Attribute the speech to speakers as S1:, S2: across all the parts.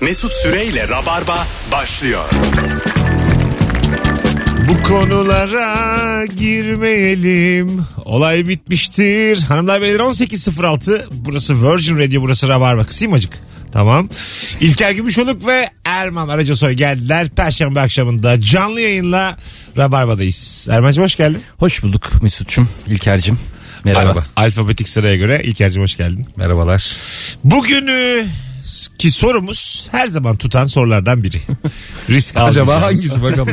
S1: Mesut Süreyle Rabarba başlıyor.
S2: Bu konulara girmeyelim. Olay bitmiştir. Hanımlar beyler 18.06. Burası Virgin Radio, burası Rabarba. Kısayım acık. Tamam. İlker Gümüşoluk ve Erman Aracasoy geldiler. Perşembe akşamında canlı yayınla Rabarba'dayız. Erman'cığım hoş geldin.
S3: Hoş bulduk Mesut'cum, İlker'cim. Merhaba.
S2: Al- alfabetik sıraya göre İlker'cim hoş geldin.
S3: Merhabalar.
S2: Bugün e, ki sorumuz her zaman tutan sorulardan biri. Risk
S3: Acaba
S2: almayacağımız.
S3: hangisi bakalım?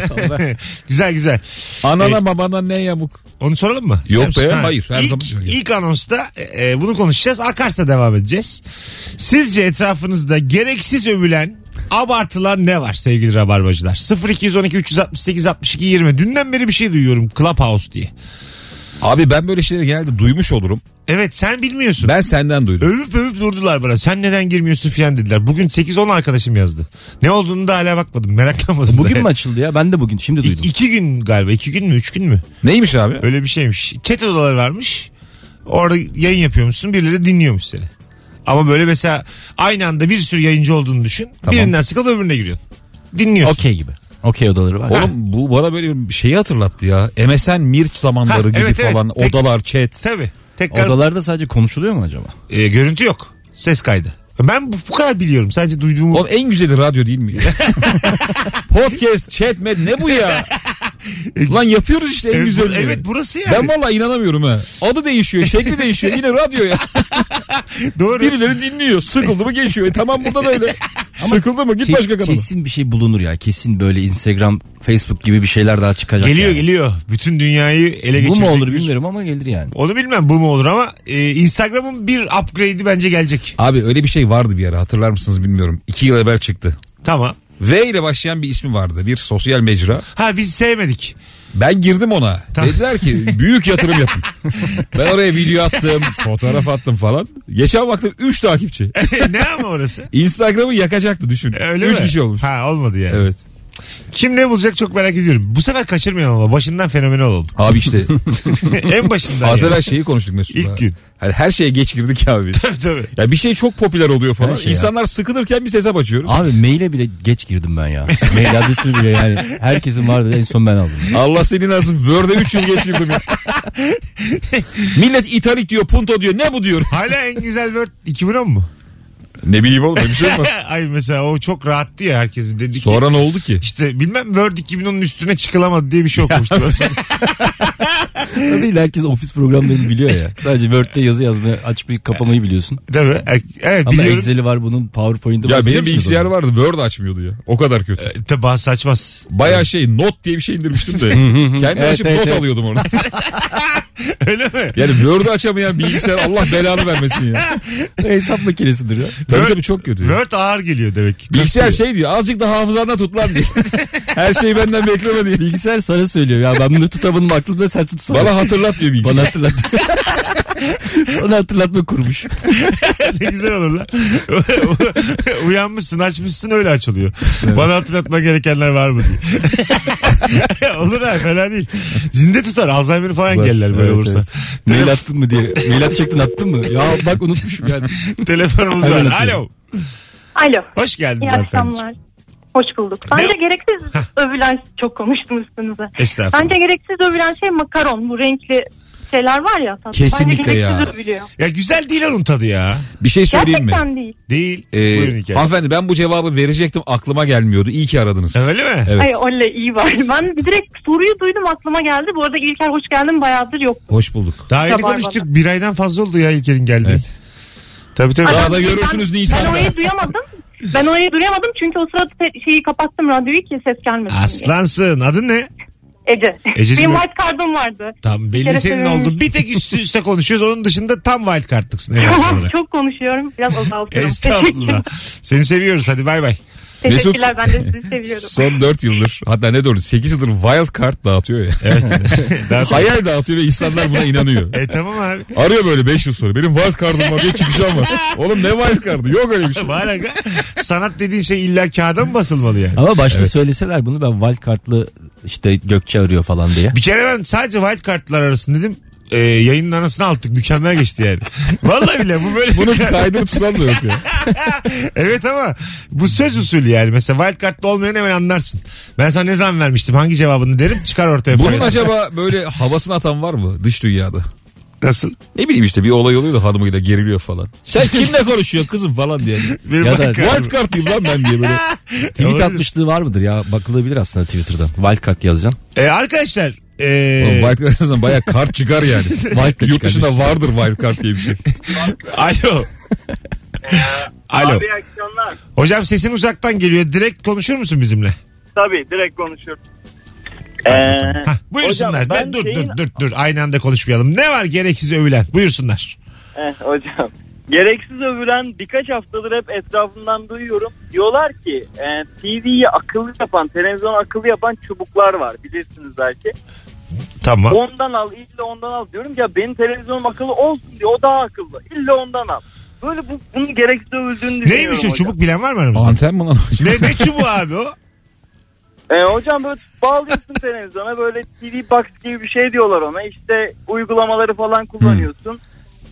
S2: güzel güzel.
S4: Ee,
S3: Anana babana ne yamuk?
S2: Onu soralım mı?
S3: Yok
S2: İster misin?
S3: be, hayır. Her
S2: ilk,
S3: zaman öyle.
S2: ilk anonsta e, bunu konuşacağız. Akarsa devam edeceğiz. Sizce etrafınızda gereksiz övülen abartılan ne var sevgili rabarbacılar? 0212 368 62 20. Dünden beri bir şey duyuyorum Clubhouse diye.
S3: Abi ben böyle şeyleri genelde duymuş olurum.
S2: Evet sen bilmiyorsun.
S3: Ben senden duydum.
S2: Övüp övüp durdular bana. Sen neden girmiyorsun filan dediler. Bugün 8-10 arkadaşım yazdı. Ne olduğunu da hala bakmadım. Meraklanmadım. da.
S4: Bugün mü açıldı ya? Ben de bugün şimdi
S2: İ-
S4: duydum.
S2: iki gün galiba. iki gün mü? Üç gün mü?
S3: Neymiş abi?
S2: Öyle bir şeymiş. Chat odaları varmış. Orada yayın yapıyormuşsun. Birileri dinliyormuş seni. Ama böyle mesela aynı anda bir sürü yayıncı olduğunu düşün.
S3: Tamam.
S2: Birinden sıkılıp öbürüne giriyorsun. Dinliyorsun.
S4: Okey gibi. Okey odaları var.
S3: Oğlum bu bana böyle bir şeyi hatırlattı ya. MSN Mirç zamanları
S2: Ha,
S3: gibi
S2: evet, evet.
S3: falan.
S2: Peki.
S3: Odalar, chat.
S2: Tabii. Tekrar
S4: Odalarda sadece konuşuluyor mu acaba?
S2: e, görüntü yok. Ses kaydı. Ben bu, bu kadar biliyorum. Sadece duyduğumu.
S3: Oğlum en güzeli radyo değil mi? Podcast, chat, med ne bu ya? Lan yapıyoruz işte en
S2: Evet, E, bu-
S3: güzelini.
S2: evet burası yani.
S3: Ben vallahi inanamıyorum ha. Adı değişiyor, şekli değişiyor. Yine radyo ya.
S2: Doğru.
S3: Birileri dinliyor. Sıkıldı mı geçiyor. E tamam burada da öyle. Sıkıldı mı git
S4: Ke-
S3: başka kanala.
S4: kesin bir şey bulunur ya. Kesin böyle Instagram, Facebook gibi bir şeyler daha çıkacak.
S2: Geliyor
S4: yani.
S2: geliyor. Bütün dünyayı ele
S4: Bu
S2: geçirecek.
S4: mu olur
S2: bir-
S4: bilmiyorum ama gelir yani.
S2: Onu bilmem bu mu olur ama e, Instagram'ın bir upgrade'i bence gelecek.
S3: Abi öyle bir şey vardı bir ara hatırlar mısınız bilmiyorum. İki yıl evvel çıktı.
S2: Tamam.
S3: V ile başlayan bir ismi vardı. Bir sosyal mecra.
S2: Ha biz sevmedik.
S3: Ben girdim ona.
S2: Tamam.
S3: Dediler ki büyük yatırım yapın. ben oraya video attım, fotoğraf attım falan. Geçen baktım 3 takipçi.
S2: ne ama orası?
S3: Instagram'ı yakacaktı düşün.
S2: E, Öyle
S3: 3
S2: mi?
S3: kişi olmuş.
S2: Ha olmadı yani.
S3: Evet.
S2: Kim ne bulacak çok merak ediyorum. Bu sefer kaçırmayalım ama başından fenomen olalım.
S3: Abi işte
S2: en başından.
S3: az
S2: yani.
S3: evvel şeyi konuştuk Mesut'la.
S2: İlk gün.
S3: Hani her şeye geç girdik ya abi.
S2: Tabii tabii.
S3: Ya bir şey çok popüler oluyor falan.
S4: Her şey ya.
S3: İnsanlar sıkılırken bir hesap açıyoruz.
S4: Abi maile bile geç girdim ben ya. Mail adresini bile yani. Herkesin vardı en son ben aldım.
S3: Allah senin nasıl Word'e 3 yıl geçirdim ya. Millet italik diyor, punto diyor. Ne bu diyor?
S2: Hala en güzel Word 2010 mu?
S3: Ne bileyim oğlum bir şey olmaz.
S2: Ay mesela o çok rahattı ya herkes bir dedi ki.
S3: Sonra ne oldu
S2: Şey
S3: ki?
S2: İşte bilmem Word 2010'un üstüne çıkılamadı diye bir şey okumuştum.
S4: O değil herkes ofis programlarını biliyor ya. Sadece Word'de yazı yazmayı açmayı kapamayı biliyorsun.
S2: Tabii. Er- Evet
S4: Ama
S2: biliyorum.
S4: Excel'i var bunun PowerPoint'i var.
S3: Ya
S4: Biliyor
S3: benim
S4: musun
S3: bilgisayar
S4: bunu?
S3: vardı Word açmıyordu ya. O kadar kötü.
S2: E, Tabii bazısı açmaz.
S3: Baya şey not diye bir şey indirmiştim de. Kendi
S4: Evet,
S3: açıp
S4: evet,
S3: not
S4: evet.
S3: alıyordum onu.
S2: Öyle mi?
S3: Yani Word'ü açamayan bilgisayar Allah belanı vermesin ya.
S4: Hesap makinesidir ya.
S3: Tabii
S2: Word-
S3: tabii çok kötü. ya.
S2: Word ağır geliyor demek ki.
S3: Bilgisayar
S2: Kasıyor.
S3: şey diyor azıcık da hafızanda tut lan diye. Her şeyi Şey benden bekleme diye.
S4: Bilgisayar sana söylüyor ya ben bunu tutamadım aklımda sen tutsana.
S3: Bana hatırlat diyor bilgisayar.
S4: Bana hatırlat. Sana hatırlatma kurmuş.
S2: ne güzel olur lan. Uyanmışsın açmışsın öyle açılıyor. Bana hatırlatma gerekenler var mı diye. olur ha fena değil. Zinde tutar Alzheimer falan
S4: Tutar.
S2: gelirler böyle
S4: Evet,
S2: olursa.
S4: evet. Mail attın mı diye. Mail atacaktın attın mı? Ya bak unutmuşum yani.
S2: Telefonumuz var.
S4: Hemen atıyorum.
S2: Alo.
S5: Alo.
S2: Hoş geldiniz
S5: İyi
S2: hanımefendiciğim.
S5: akşamlar. Hoş bulduk. Bence gereksiz övülen çok konuştum üstünüze.
S2: Estağfurullah.
S5: Bence gereksiz övülen şey makaron. Bu renkli şeyler var ya. Tatlı.
S3: Kesinlikle
S5: Bence gereksiz
S3: ya.
S5: övülüyor.
S2: Ya güzel değil onun tadı ya.
S3: Bir şey söyleyeyim mi?
S5: Gerçekten değil.
S2: Değil.
S3: Ee,
S2: Buyurun hikaye.
S3: hanımefendi ben bu cevabı verecektim aklıma gelmiyordu. İyi ki aradınız.
S2: Öyle mi?
S3: Evet.
S5: Ay oley iyi var. Ben bir direkt soruyu duydum aklıma geldi. Bu arada İlker hoş geldin bayağıdır yok.
S3: Hoş bulduk.
S2: Daha yeni
S5: Rabarba.
S2: konuştuk. Bir aydan fazla oldu ya İlker'in geldiği.
S3: Evet.
S2: Tabii tabii.
S3: Daha
S5: Ben-
S3: da görürsünüz
S5: ben,
S3: Nisan'da.
S5: Ben orayı duyamadım. Ben orayı duyamadım çünkü o sırada te- şeyi kapattım radyoyu ki ses gelmesin diye.
S2: Aslansın. Adın ne?
S5: Ece.
S2: Ececiğim
S5: Benim
S2: ben-
S5: white card'ım vardı.
S2: Tam belli
S5: kere
S2: senin
S5: senin-
S2: oldu. Bir tek üstü üste konuşuyoruz. Onun dışında tam wild card'lıksın. en azından
S5: Tamam
S2: olarak.
S5: çok konuşuyorum. Biraz azaltıyorum.
S2: Estağfurullah. Seni seviyoruz. Hadi bay bay.
S5: Teşekkürler ben de sizi seviyorum.
S3: Son 4 yıldır hatta ne doğru 8 yıldır wild card dağıtıyor ya.
S2: Evet. Daha sonra-
S3: Hayal dağıtıyor ve insanlar buna inanıyor.
S2: E tamam abi.
S3: Arıyor böyle 5 yıl sonra. Benim wild card'ım var diye çıkacağım var. Oğlum ne wild card'ı? Yok öyle bir şey.
S2: Var aga. Sanat dediğin şey illa kağıda mı basılmalı yani?
S4: Ama başta söyleseler bunu ben wild kartlı işte Gökçe arıyor falan diye.
S2: Bir kere ben sadece wild kartlar arasında dedim. e, yayının anasını attık. Mükemmel geçti yani. Vallahi bile bu böyle.
S3: Bunun kaydını tutan da yok ya.
S2: evet ama bu söz usulü yani. Mesela wildcard'da olmayan hemen anlarsın. Ben sana ne zaman vermiştim hangi cevabını derim çıkar ortaya.
S3: Bunun
S2: paylaşırım.
S3: acaba böyle havasını atan var mı dış dünyada?
S2: Nasıl?
S3: Ne bileyim işte bir olay oluyor da hanımıyla geriliyor falan.
S4: Sen kimle konuşuyorsun kızım falan diye.
S2: Benim
S4: ya da
S2: hakkım.
S3: Wild card diyeyim lan ben diye böyle.
S4: tweet
S2: Olabilir.
S4: atmışlığı var mıdır ya? Bakılabilir aslında Twitter'dan. Wildcard yazacaksın.
S2: E, arkadaşlar. e,
S3: Oğlum Wild card yazarsan baya kart çıkar yani.
S4: card
S3: Yurt dışında
S4: çıkarmış.
S3: vardır wild card diye bir şey.
S2: Alo. Alo.
S6: Abi iyi akşamlar.
S2: Hocam sesin uzaktan geliyor. Direkt konuşur musun bizimle?
S6: Tabii direkt konuşuyorum. Ee,
S2: Hah, buyursunlar.
S6: hocam,
S2: ben,
S6: ben
S2: dur
S6: şeyin-
S2: dur dur dur. Aynı anda konuşmayalım. Ne var gereksiz övülen? Buyursunlar.
S6: eh, hocam. Gereksiz övülen birkaç haftadır hep etrafımdan duyuyorum. Diyorlar ki e, TV'yi akıllı yapan, televizyonu akıllı yapan çubuklar var. Bilirsiniz belki.
S2: Tamam.
S6: Ondan al, illa ondan al diyorum. Ya benim televizyonum akıllı olsun diyor. O daha akıllı. İlla ondan al. Böyle bu, bunun gereksiz övüldüğünü düşünüyorum
S2: Neymiş o
S6: hocam.
S2: çubuk bilen var mı aramızda?
S3: Anten mi lan?
S2: ne, ne çubuğu abi o?
S6: E, hocam böyle bağlıyorsun televizyona böyle TV box gibi bir şey diyorlar ona. İşte uygulamaları falan kullanıyorsun.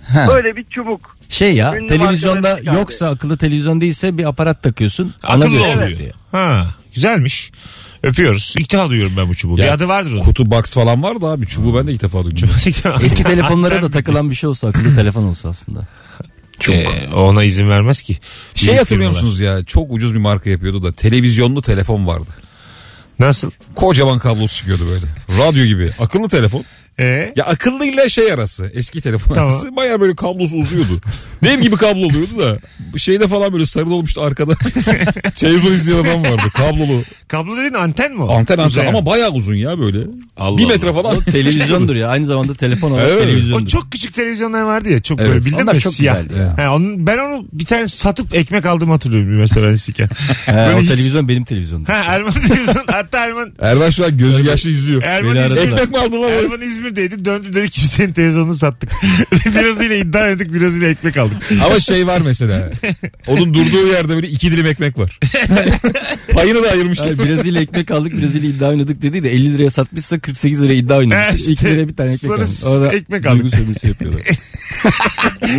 S4: Ha.
S6: Böyle bir çubuk.
S4: Şey ya
S6: Ünlü
S4: televizyonda
S6: markaları çıkardı.
S4: yoksa akıllı televizyon değilse bir aparat takıyorsun. Ona
S2: Akıllı
S4: göre
S2: oluyor.
S4: diyor.
S2: Ha, güzelmiş. Öpüyoruz. İlk defa duyuyorum ben bu çubuğu.
S3: Ya,
S2: bir adı vardır onun.
S3: Kutu box falan var da abi çubuğu ben de ilk defa duydum.
S2: İlk defa-
S4: Eski telefonlara da takılan bir şey olsa akıllı telefon olsa aslında.
S2: Ee, ona izin vermez ki.
S3: Şey
S2: Büyük
S3: hatırlıyor
S2: firmalar.
S3: musunuz ya çok ucuz bir marka yapıyordu da televizyonlu telefon vardı.
S2: Nasıl?
S3: Kocaman kablosu çıkıyordu böyle. Radyo gibi. Akıllı telefon.
S2: Ee,
S3: Ya akıllı ile şey arası. Eski telefon
S2: Tamam.
S3: arası. Baya böyle kablosu uzuyordu. Benim gibi kablo oluyordu da. Şeyde falan böyle sarı olmuştu arkada. Televizyon izleyen adam vardı. Kablolu.
S2: kablo dediğin anten mi o?
S3: Anten anten
S2: Uzayan.
S3: ama bayağı uzun ya böyle. bir metre falan.
S4: Televizyondur ya aynı zamanda telefon olarak
S3: Evet.
S4: televizyondur.
S2: O çok küçük televizyonlar vardı ya. Çok
S3: Evet,
S2: böyle bildin
S4: onlar
S2: mi?
S4: çok
S2: Siyah.
S4: güzeldi ya.
S2: He, onun, ben onu bir tane satıp ekmek aldığımı hatırlıyorum mesela liseyken.
S4: He,
S2: Böyle
S4: o
S2: hiç-
S4: televizyon benim televizyonum.
S2: Ha Erman televizyon. Hatta Erman
S3: Erman şu an gözü yaşlı izliyor.
S2: Erman
S4: Beni
S2: İzmir-
S4: aradılar.
S3: Ekmek mi aldın lan?
S2: Erman İzmir'deydi. Döndü dedi kimsenin televizyonunu sattık. birazıyla iddia ettik, birazıyla ekmek aldık.
S3: Ama şey var mesela. Onun durduğu yerde böyle iki dilim ekmek var. Payını da ayırmışlar.
S4: Hayır, Brezilya ekmek aldık Brezilya iddia oynadık dedi de 50 liraya satmışsa 48 liraya iddia oynamıştı.
S2: Ha, işte.
S4: 2 liraya bir tane ekmek
S2: Sonra
S4: aldı.
S2: ekmek aldık.
S4: Duygu sömürüsü yapıyorlar.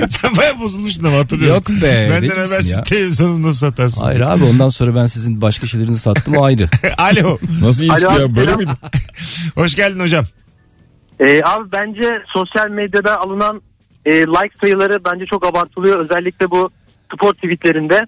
S2: Sen baya bozulmuşsun ama hatırlıyorum.
S4: Yok be,
S2: Benden
S4: deli misin
S2: habersiz
S4: ya?
S2: televizyonunu nasıl satarsın?
S4: Hayır abi ondan sonra ben sizin başka şeylerinizi sattım o ayrı.
S2: Alo.
S3: Nasıl ilişki
S6: Alo,
S3: ya? Böyle
S6: selam.
S3: miydi?
S2: Hoş geldin hocam.
S6: Ee, abi bence sosyal medyada alınan e, like sayıları bence çok abartılıyor. Özellikle bu spor tweetlerinde.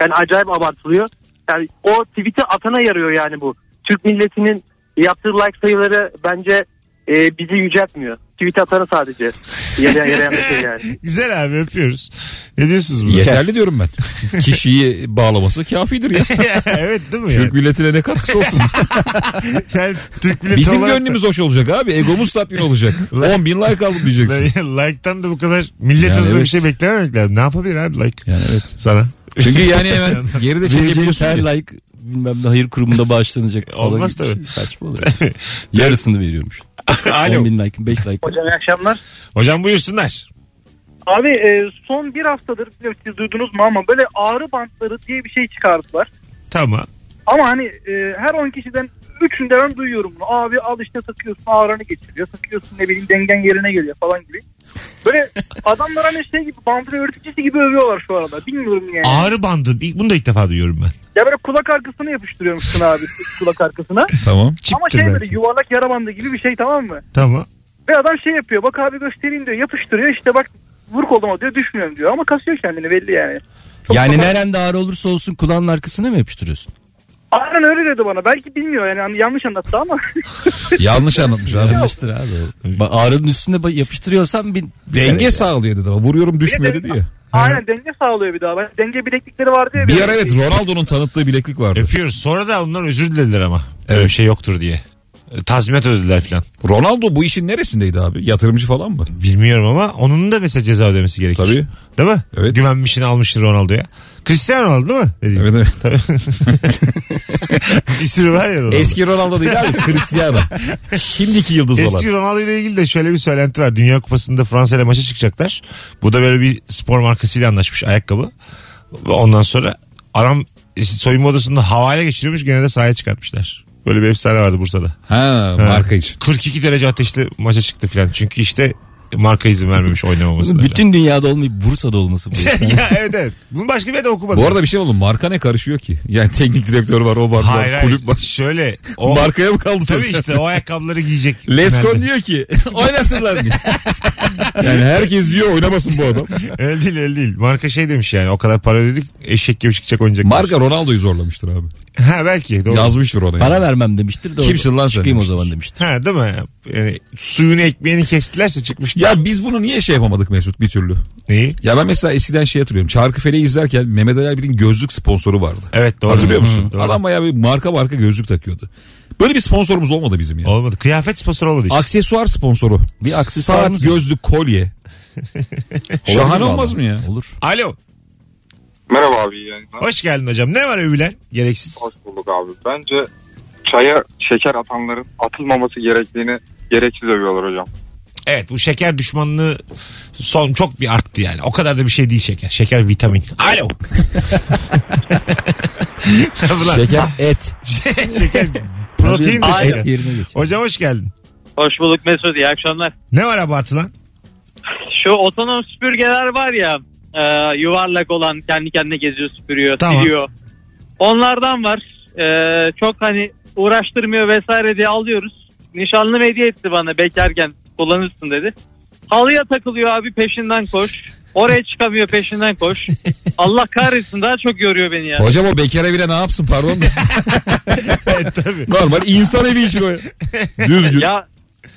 S6: Yani acayip abartılıyor. Yani o tweet'i atana yarıyor yani bu. Türk milletinin yaptığı like sayıları bence e, bizi yüceltmiyor. Tweet atana sadece. Yere yere yapıyor şey yani.
S2: Güzel abi öpüyoruz. Ne diyorsunuz buna?
S3: Yeterli diyorum ben. Kişiyi bağlaması kafidir ya.
S2: evet değil mi?
S3: Türk milletine ne katkısı olsun.
S2: yani? Yani Türk milleti
S3: Bizim
S2: olarak da-
S3: gönlümüz hoş olacak abi. Egomuz tatmin olacak. 10 bin like aldım diyeceksin.
S2: Like'tan da bu kadar millet
S3: Yani
S2: adına bir
S3: evet.
S2: şey beklememek lazım. Ne yapabilir abi like
S3: Yani evet.
S2: sana?
S3: Çünkü yani hemen geride
S4: Vereceğiniz
S3: çekebiliyorsun.
S4: her
S3: ya.
S4: like bilmem ne hayır kurumunda bağışlanacak falan.
S2: Olmaz
S4: gibi bir
S2: tabii.
S4: şey. Saçma oluyor. Yarısını veriyormuş.
S2: Alo.
S4: 10 bin like, 5 like.
S7: Hocam iyi akşamlar.
S2: Hocam buyursunlar.
S7: Abi e, son bir haftadır bilmiyorum siz duydunuz mu ama böyle ağrı bantları diye bir şey çıkardılar.
S2: Tamam.
S7: Ama hani e, her 10 kişiden 3'ünde ben duyuyorum bunu. Abi al işte takıyorsun ağrını geçiriyor. Takıyorsun ne bileyim dengen yerine geliyor falan gibi. Böyle adamlar hani şey gibi bantlı öğreticisi gibi övüyorlar şu arada. Bilmiyorum yani.
S2: Ağrı bandı. İlk- Bunu da ilk defa duyuyorum ben.
S7: Ya böyle kulak arkasına yapıştırıyormuşsun abi kulak arkasına.
S3: Tamam.
S7: ama
S2: Çiptir
S7: şey böyle
S2: belki.
S7: yuvarlak yara bandı gibi bir şey tamam mı?
S2: Tamam.
S7: Ve adam şey yapıyor bak abi göstereyim diyor yapıştırıyor işte bak vur koluma diyor düşmüyorum diyor ama kasıyor kendini belli yani.
S4: Yani nerede ağrı olursa olsun kulağın arkasına mı yapıştırıyorsun?
S7: Aynen öyle dedi bana. Belki bilmiyor yani hani yanlış anlattı ama.
S3: Yanlış anlatmış abi.
S4: Yanlıştır abi. Ba- ağrının üstüne ba- yapıştırıyorsan bir...
S3: Denge sağlıyor dedi ama vuruyorum düşmüyor dedi ya.
S7: Aynen denge sağlıyor bir daha. Ben- Denge bileklikleri vardı ya.
S3: Bir
S7: benim.
S3: ara evet Ronaldo'nun tanıttığı bileklik vardı.
S2: Öpüyoruz. Sonra da ondan özür dilediler ama. Öyle bir
S3: Evet.
S2: şey yoktur diye. E, Tazminat ödediler falan.
S3: Ronaldo bu işin neresindeydi abi? Yatırımcı falan mı?
S2: Bilmiyorum ama onun da mesela ceza ödemesi gerekir.
S3: Tabii.
S2: Değil mi?
S3: Evet.
S2: Güvenmişini almıştır Ronaldo'ya. Cristiano Ronaldo değil mi? Dediğim.
S3: Evet, evet.
S2: Bir sürü var ya Ronaldo.
S3: Eski Ronaldo değil abi Cristiano. Şimdiki yıldız olan.
S2: Eski Ronaldo ile ilgili de şöyle bir söylenti var. Dünya Kupası'nda Fransa ile maça çıkacaklar. Bu da böyle bir spor markasıyla anlaşmış ayakkabı. e, Ondan sonra adam soyunma odasında havale geçiriyormuş gene de sahaya çıkartmışlar. Böyle bir efsane vardı Bursa'da.
S3: Ha, marka için.
S2: 42 derece ateşli maça çıktı filan. Çünkü işte marka izin vermemiş oynamamasına.
S4: Bütün dünyada olmayıp Bursa'da olması. bu.
S2: ya evet evet. Bunu başka bir yerde okumadım.
S3: Bu arada bir şey oldu. Marka ne karışıyor ki? Yani teknik direktör var, o var,
S2: hayır,
S3: var,
S2: hayır.
S3: kulüp var.
S2: Şöyle. O,
S3: Markaya mı kaldı
S2: tabii
S3: sosyal?
S2: işte o ayakkabıları giyecek.
S3: Leskon
S2: Nerede?
S3: diyor ki oynasınlar diye. yani herkes diyor oynamasın bu adam.
S2: Öyle değil öyle değil. Marka şey demiş yani o kadar para ödedik eşek gibi çıkacak oynayacak.
S3: Marka Ronaldo'yu zorlamıştır abi.
S2: Ha belki doğru.
S3: Yazmıştır ona. yani.
S4: Para vermem demiştir. Doğru.
S3: Kimsin lan sen
S4: Çıkayım o
S3: demiştir.
S4: zaman demiştir.
S2: Ha değil mi? Yani suyunu ekmeğini kestilerse çıkmıştı.
S3: Ya biz bunu niye şey yapamadık Mesut bir türlü?
S2: Neyi?
S3: Ya ben mesela eskiden şey hatırlıyorum. Çarkıfele'yi izlerken Mehmet Ali Erbil'in gözlük sponsoru vardı.
S2: Evet doğru.
S3: Hatırlıyor musun?
S2: Hı, doğru.
S3: Adam bayağı bir marka marka gözlük takıyordu. Böyle bir sponsorumuz olmadı bizim ya.
S2: Olmadı. Kıyafet sponsoru olmadı işte.
S3: Aksesuar sponsoru.
S4: Bir
S3: Saat,
S4: aksesuarımız yok.
S3: gözlük, kolye. Şahane olmaz mı ya?
S4: Olur.
S2: Alo.
S8: Merhaba abi yani.
S2: Hoş geldin hocam. Ne var övülen? Gereksiz.
S8: Hoş bulduk abi. Bence çaya şeker atanların atılmaması gerektiğini gereksiz övüyorlar hocam.
S2: Evet bu şeker düşmanlığı son çok bir arttı yani. O kadar da bir şey değil şeker. Şeker vitamin. Alo. Ulan,
S4: Şeker et.
S2: Şey, şeker protein de
S4: et
S2: şeker.
S4: yerine geç.
S2: Hocam hoş geldin.
S9: Hoş bulduk Mesut iyi akşamlar.
S2: Ne var abartılan?
S9: Şu otonom süpürgeler var ya e, yuvarlak olan kendi kendine geziyor süpürüyor
S2: Tamam.
S9: siliyor. Onlardan var. E, çok hani uğraştırmıyor vesaire diye alıyoruz. Nişanlım hediye etti bana bekarken kullanırsın dedi. Halıya takılıyor abi peşinden koş. Oraya çıkamıyor peşinden koş. Allah kahretsin daha çok yoruyor beni ya.
S3: Hocam o bekara bile ne yapsın pardon. da.
S2: evet tabii.
S3: Normal insan evi için o. ya. Düzgün.
S9: Ya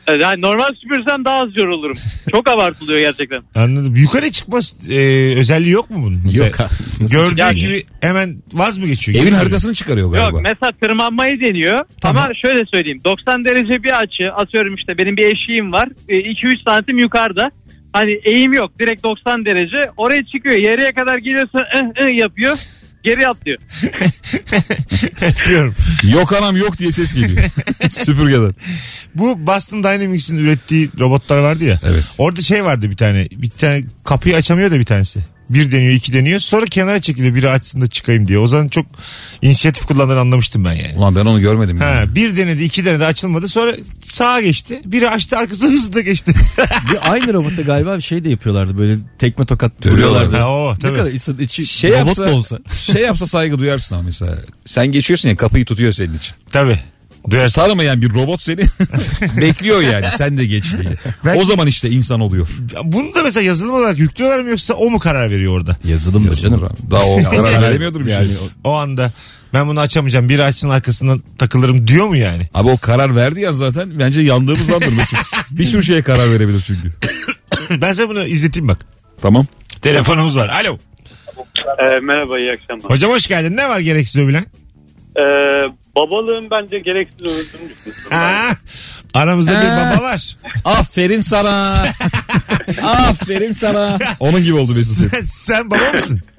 S9: e, yani normal süpürsem daha az yorulurum. Çok abartılıyor gerçekten.
S2: Anladım. Yukarı çıkma e, özelliği yok mu bunun? Mesela
S4: Yok abi. Nasıl
S2: Gördüğü
S9: Yani-
S2: gibi hemen vaz mı geçiyor?
S3: Evin
S2: Geliyor.
S3: haritasını çıkarıyor galiba.
S9: Yok mesela tırmanmayı deniyor
S2: Tamam.
S9: ama şöyle söyleyeyim 90 derece bir açı atıyorum işte benim bir eşiğim var 2-3 santim yukarıda hani eğim yok direkt 90 derece oraya çıkıyor yarıya kadar geliyorsa ıh ıh yapıyor geri atlıyor.
S2: Biliyorum.
S3: Yok anam yok diye ses geliyor. Süpürgeden.
S2: Bu Boston Dynamics'in ürettiği robotlar vardı ya.
S3: Evet.
S2: Orada şey vardı bir tane. Bir tane kapıyı açamıyor da bir tanesi. Bir deniyor, iki deniyor. Sonra kenara çekiliyor biri açsın da çıkayım diye. O zaman çok inisiyatif kullandığını anlamıştım ben yani.
S3: Ulan ben onu görmedim. ya.
S2: Ha, bir denedi, iki denedi açılmadı. Sonra sağa geçti. Biri açtı arkasına hızlı geçti.
S4: Bir aynı robotta galiba bir şey de yapıyorlardı. Böyle tekme tokat
S3: Dövüyorlardı.
S4: vuruyorlardı.
S2: ha, o,
S4: Ne kadar
S2: tabii.
S4: içi, içi
S3: Şey
S4: robot
S3: yapsa-
S4: da olsa.
S3: Şey yapsa saygı duyarsın ama mesela. Sen geçiyorsun ya kapıyı tutuyor senin için.
S2: Tabii. Duyarsın.
S3: Tanımayan bir robot seni bekliyor yani sen de geç diye.
S2: Ben-
S3: O zaman işte insan oluyor.
S2: Bunu da mesela yazılım olarak yüklüyorlar mı yoksa o mu karar veriyor orada?
S4: Yazılımdır canım.
S3: Abi. Daha o karar veremiyordur bir şey.
S2: O anda ben bunu açamayacağım. Biri açsın arkasından takılırım diyor mu yani?
S3: Abi o karar verdi ya zaten bence yandığımız andır Mesut. Bir sürü şeye karar verebilir çünkü.
S2: ben sana bunu izleteyim bak.
S3: Tamam.
S2: Telefonumuz var. Alo.
S9: Ee, merhaba iyi akşamlar. Ee,
S2: Hocam hoş geldin. Ne var gereksiz övülen?
S9: babalığın bence gereksiz olduğunu düşünüyorum.
S2: Aa, aramızda bir
S3: Aa.
S2: baba var.
S3: Aferin sana. Aferin sana. Onun gibi oldu Mesut.
S2: Sen, sen baba mısın?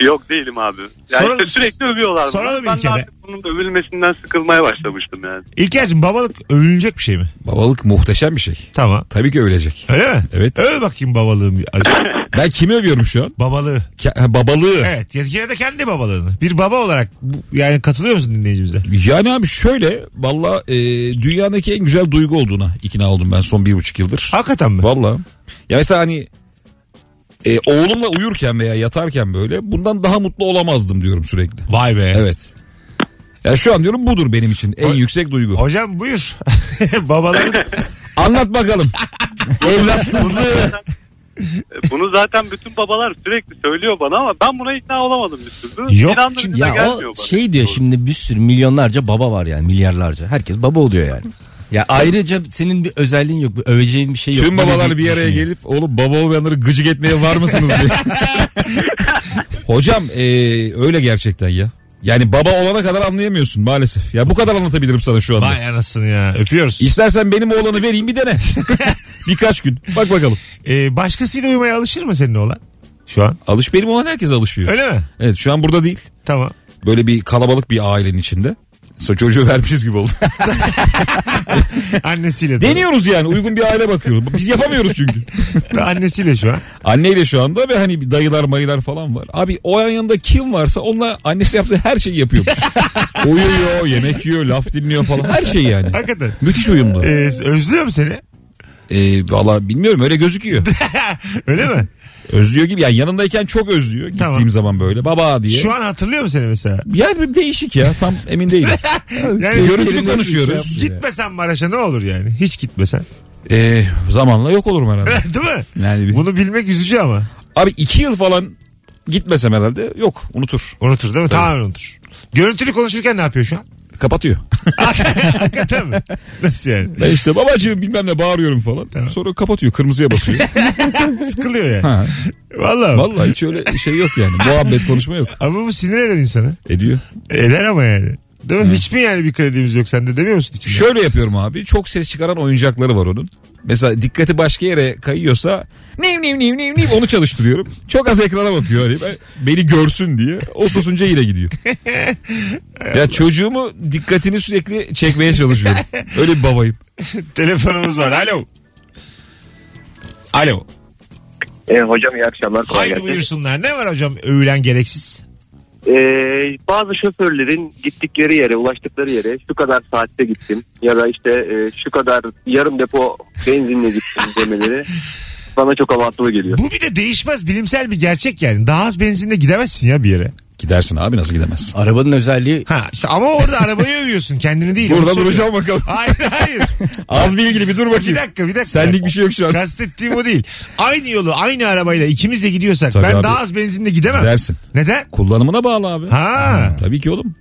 S9: Yok değilim abi.
S2: Yani Soralım. sürekli
S9: övüyorlar.
S2: bunu. Soralım Ben bir de kere. artık
S9: bunun övülmesinden sıkılmaya başlamıştım yani.
S2: İlker'cim babalık övülecek bir şey mi?
S3: Babalık muhteşem bir şey.
S2: Tamam.
S3: Tabii ki övülecek.
S2: Öyle mi?
S3: Evet.
S2: Öv bakayım babalığım. bir acı.
S3: Ben kimi övüyorum şu an?
S2: babalığı.
S3: Ke- ha, babalığı.
S2: Evet. Ya, ya da kendi babalığını. Bir baba olarak bu- yani katılıyor musun dinleyicimize?
S3: Yani abi şöyle valla e, dünyadaki en güzel duygu olduğuna ikna oldum ben son bir buçuk yıldır.
S2: Hakikaten mi?
S3: Valla. Ya mesela hani e, oğlumla uyurken veya yatarken böyle bundan daha mutlu olamazdım diyorum sürekli.
S2: Vay be.
S3: Evet. Ya şu an diyorum budur benim için en yüksek duygu.
S2: Hocam buyur. Babaların
S3: Anlat bakalım. Evlatsızlığı.
S9: Ee, Bunu zaten bütün babalar sürekli söylüyor bana ama ben buna ikna olamadım bir türlü.
S2: Yok
S9: İnandırıcı
S2: çünkü-
S9: da
S4: Ya
S9: gelmiyor
S4: o
S9: bana.
S4: şey diyor şimdi bir sürü milyonlarca baba var yani milyarlarca. Herkes baba oluyor yani. Ya ayrıca senin bir özelliğin yok. Bir öveceğin bir şey yok.
S3: Tüm babalar bir araya
S4: Düşünüyor.
S3: gelip oğlum baba olmayanları gıcık etmeye var mısınız diye. Hocam e, öyle gerçekten ya. Yani baba olana kadar anlayamıyorsun maalesef. Ya bu kadar anlatabilirim sana şu anda.
S2: vay anasını ya. Öpüyoruz.
S3: İstersen benim oğlanı vereyim bir dene. Birkaç gün. Bak bakalım.
S2: Ee, başkasıyla uyumaya alışır mı senin oğlan? Şu an.
S3: Alış benim oğlan herkes alışıyor.
S2: Öyle mi?
S3: Evet şu an burada değil.
S2: Tamam.
S3: Böyle bir kalabalık bir ailenin içinde. So, çocuğu vermişiz gibi oldu.
S2: Annesiyle. tabii.
S3: Deniyoruz yani uygun bir aile bakıyoruz. Biz yapamıyoruz çünkü.
S2: Annesiyle şu an.
S3: Anneyle şu anda ve hani bir dayılar mayılar falan var. Abi o yan yanında kim varsa onunla annesi yaptığı her şeyi yapıyormuş. Uyuyor, yemek yiyor, laf dinliyor falan. Her şey yani.
S2: Hakikaten.
S3: Müthiş uyumlu.
S2: Ee, özlüyor mu seni?
S3: Ee, Valla bilmiyorum öyle gözüküyor.
S2: Öyle mi?
S3: Özlüyor gibi yani yanındayken çok özlüyor. Gittiğim
S2: Tamam.
S3: zaman böyle baba diye.
S2: Şu an hatırlıyor mu seni mesela?
S3: Yani bir değişik ya tam emin değilim.
S2: Yani şey
S3: Görüntülü konuşuyoruz.
S2: Gitmesen Maraş'a ne olur yani? Hiç gitmesen.
S3: Ee, zamanla yok olurum herhalde.
S2: Değil mi?
S3: Yani bir-
S2: Bunu bilmek üzücü ama.
S3: Abi iki yıl falan gitmesem herhalde yok unutur.
S2: Unutur değil mi? Tamamen unutur. Görüntülü konuşurken ne yapıyor şu an?
S3: Kapatıyor.
S2: Hakikaten mi? Nasıl yani?
S3: Ben işte babacığım bilmem ne bağırıyorum falan. Sonra kapatıyor kırmızıya basıyor.
S2: Sıkılıyor yani.
S3: ha.
S2: Vallahi.
S3: Vallahi hiç öyle şey yok yani. Muhabbet konuşma yok.
S2: Ama bu sinir eder insanı.
S3: Ediyor.
S2: Eder ama yani. Değil mi? Hiç mi yani bir kredimiz yok sende demiyor musun? içinde?
S3: Şöyle yapıyorum abi. Çok ses çıkaran oyuncakları var onun. Mesela dikkati başka yere kayıyorsa nev nev nev nev nev onu çalıştırıyorum. Çok az ekrana bakıyor hani ben- beni görsün diye. O susunca yine gidiyor. ya çocuğumu dikkatini sürekli çekmeye çalışıyorum. Öyle bir babayım.
S2: Telefonumuz var. Alo. Alo.
S6: E, hocam iyi akşamlar.
S2: Haydi buyursunlar. Ne var hocam övülen gereksiz?
S6: Ee, bazı şoförlerin gittikleri yere ulaştıkları yere şu kadar saatte gittim ya da işte e, şu kadar yarım depo benzinle gittim demeleri bana çok abartılı geliyor.
S2: Bu bir de değişmez bilimsel bir gerçek yani. Daha az benzinle gidemezsin ya bir yere.
S3: Gidersin abi nasıl gidemezsin?
S4: Arabanın özelliği
S2: Ha işte ama orada arabayı övüyorsun kendini değil. Onu
S3: Burada
S2: söylüyorum.
S3: duracağım bakalım.
S2: Hayır hayır.
S3: Az bilgili bir dur
S2: bir
S3: bakayım.
S2: dakika bir dakika.
S3: Senlik bir şey yok şu an.
S2: Kastettiğim o değil. Aynı yolu aynı arabayla ikimiz de gidiyorsak
S3: Tabii
S2: ben
S3: abi.
S2: daha az benzinle gidemem.
S3: Gidersin.
S2: Neden?
S3: Kullanımına bağlı abi.
S2: Ha.
S3: Tabii ki oğlum.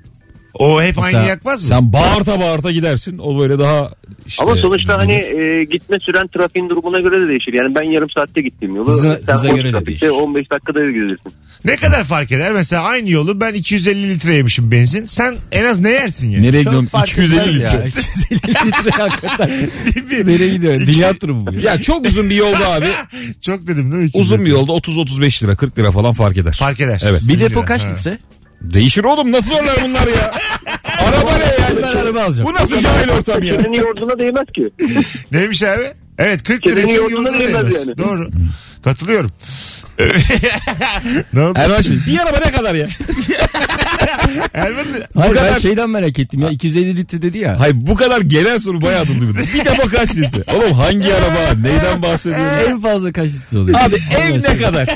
S2: O hep aynı
S3: Sen-
S2: yakmaz mı?
S3: Sen bağırta bağırta gidersin. O böyle daha işte
S6: Ama sonuçta hani
S3: düzgün.
S6: e, gitme süren trafiğin durumuna göre de değişir. Yani ben yarım saatte gittiğim yolu
S4: Hıza-
S6: sen
S4: hıza
S6: boş
S4: göre de
S6: trafikte
S4: değişir.
S6: 15 dakikada gezirsin.
S2: Ne kadar fark eder? Mesela aynı yolu ben 250 litre yemişim benzin. Sen en az ne yersin yani?
S3: Nereye
S4: çok
S3: gidiyorum?
S4: fark
S3: 250
S4: etmez
S3: litre.
S4: ya. 250 litre hakikaten.
S2: Bir-
S4: Nereye gidiyor? Dünya turu mu bu?
S3: Ya çok uzun bir yolda abi.
S2: Çok dedim değil mi? 250
S3: Uzun bir yolda 30-35 lira 40 lira falan fark eder.
S2: Fark eder.
S3: Evet.
S4: Bir depo kaç
S2: Ha.
S4: litre?
S3: Değişir oğlum nasıl zorlar bunlar ya? araba ne
S4: Ben
S3: ya?
S4: araba alacağım.
S3: Bu nasıl cahil ortam ya?
S6: Senin yorduna değmez ki.
S2: Neymiş abi? Evet 40 lira
S6: Kedinin
S2: için
S6: yolculuğuna
S2: yolculuğuna
S6: değmez
S2: değmez.
S6: yani.
S2: Doğru. Katılıyorum. ne oldu?
S3: Erman şey bir araba ne kadar ya? Er-
S2: Erman
S4: Hayır ben
S3: kadar-
S4: şeyden merak ettim ya 250 litre dedi ya.
S3: Hayır bu kadar gelen soru bayağı adımdı bir de. Bir depo kaç litre? Oğlum hangi araba? Neyden bahsediyorsun?
S4: En fazla kaç litre oluyor?
S3: Abi
S4: Allah
S3: ev ne
S4: aşkına.
S3: kadar?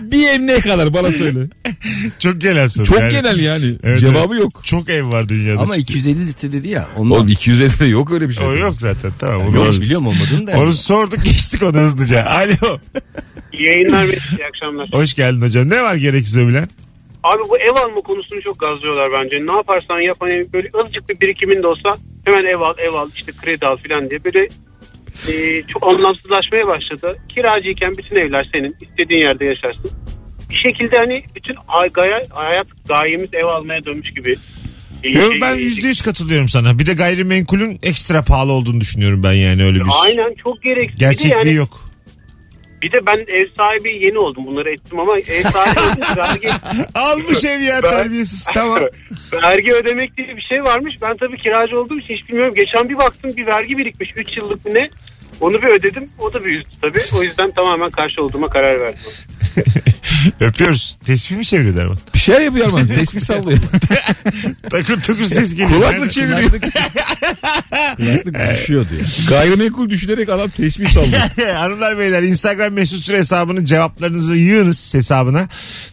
S3: bir ev ne kadar bana söyle.
S2: çok genel soru.
S3: Çok
S2: Yani
S3: genel yani.
S2: Evet,
S3: Cevabı yok.
S2: Çok ev var dünyada.
S4: Ama 250 litre dedi ya. Ondan.
S3: Oğlum 250 de yok öyle bir şey.
S2: O yok zaten tamam.
S4: Yok,
S2: Onu, onu,
S4: biliyorum olmadığını da. yani.
S2: sorduk geçtik onu hızlıca. Alo.
S10: Yayınlar Mesut iyi akşamlar.
S2: Hoş geldin hocam. Ne var gereksiz övülen?
S10: Abi bu ev alma konusunu çok gazlıyorlar bence. Ne yaparsan yap hani böyle azıcık bir birikimin de olsa hemen ev al ev al işte kredi al filan diye böyle e, çok anlamsızlaşmaya başladı. Kiracıyken bütün evler senin istediğin yerde yaşarsın. Bir şekilde hani bütün ay- gaya, hayat gayemiz ev almaya dönmüş gibi. E,
S2: Yo,
S10: e,
S2: ben
S10: e,
S2: yüzde yüz katılıyorum sana. Bir de gayrimenkulün ekstra pahalı olduğunu düşünüyorum ben yani öyle bir.
S10: Aynen çok gereksiz.
S2: Gerçekliği
S10: bir de yani,
S2: yok.
S10: Bir de ben ev sahibi yeni oldum bunları ettim ama ev sahibi vergi,
S2: Almış ev ya
S10: Ben-
S2: terbiyesiz. Tamam.
S10: vergi ödemek diye bir şey varmış. Ben tabii kiracı olduğum için hiç bilmiyorum. Geçen bir baktım bir vergi birikmiş 3 yıllık mı ne. Onu bir ödedim. O da bir üzdü tabii. O yüzden tamamen karşı olduğuma karar verdim.
S2: Öpüyoruz. Tespih mi çeviriyorlar mı?
S3: Bir şeyler yapıyor Erman. Tespih sallıyor.
S2: Takır takır ses geliyor.
S3: Kulaklık çeviriyor.
S4: Kulaklık düşüyor diyor.
S3: Gayrimenkul düşünerek adam tespih sallıyor.
S2: Hanımlar beyler Instagram mesut süre hesabının cevaplarınızı yığınız hesabına.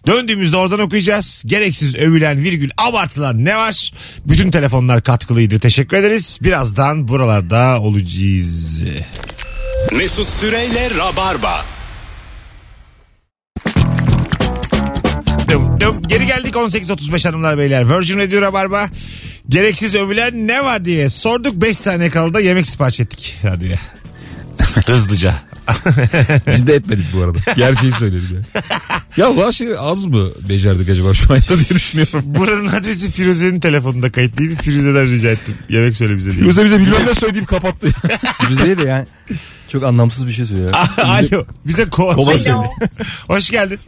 S2: Döndüğümüzde oradan okuyacağız. Gereksiz övülen virgül abartılan ne var? Bütün telefonlar katkılıydı. Teşekkür ederiz. Birazdan buralarda olacağız.
S1: Mesut Süreyle Rabarba.
S2: Dım dım. Geri geldik 18.35 hanımlar beyler. Virgin Radio Rabarba. Gereksiz övülen ne var diye sorduk. 5 saniye kaldı da yemek sipariş ettik radyoya. Hızlıca.
S3: Biz de etmedik bu arada. Gerçeği söyledik ya. Ya bazı şeyleri az mı becerdik acaba şu anda diye düşünüyorum.
S2: Buranın adresi Firuze'nin telefonunda kayıtlıydı. Firuze'den rica ettim. Yemek söyle bize diye.
S3: Yoksa bize bilmem ne söyleyip kapattı.
S4: Rize'ye de yani çok anlamsız bir şey söylüyor.
S2: Alo. Bize kova,
S4: Kova
S2: söyle.
S4: söyle.
S2: Hoş geldin.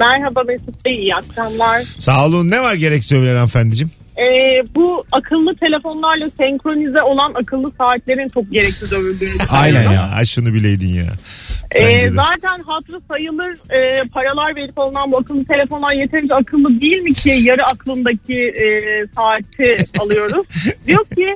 S5: Merhaba Mesut Bey, iyi akşamlar.
S2: Sağ olun. Ne var gereksiz övülen hanımefendiciğim?
S11: e, bu akıllı telefonlarla senkronize olan akıllı saatlerin çok gereksiz övüldüğünü
S2: Aynen ya. Ay şunu bileydin ya.
S11: Ee,
S2: Bence de.
S11: zaten hatırı sayılır e, paralar verip alınan bu akıllı telefonlar yeterince akıllı değil mi ki yarı aklındaki e, saati alıyoruz. Diyor ki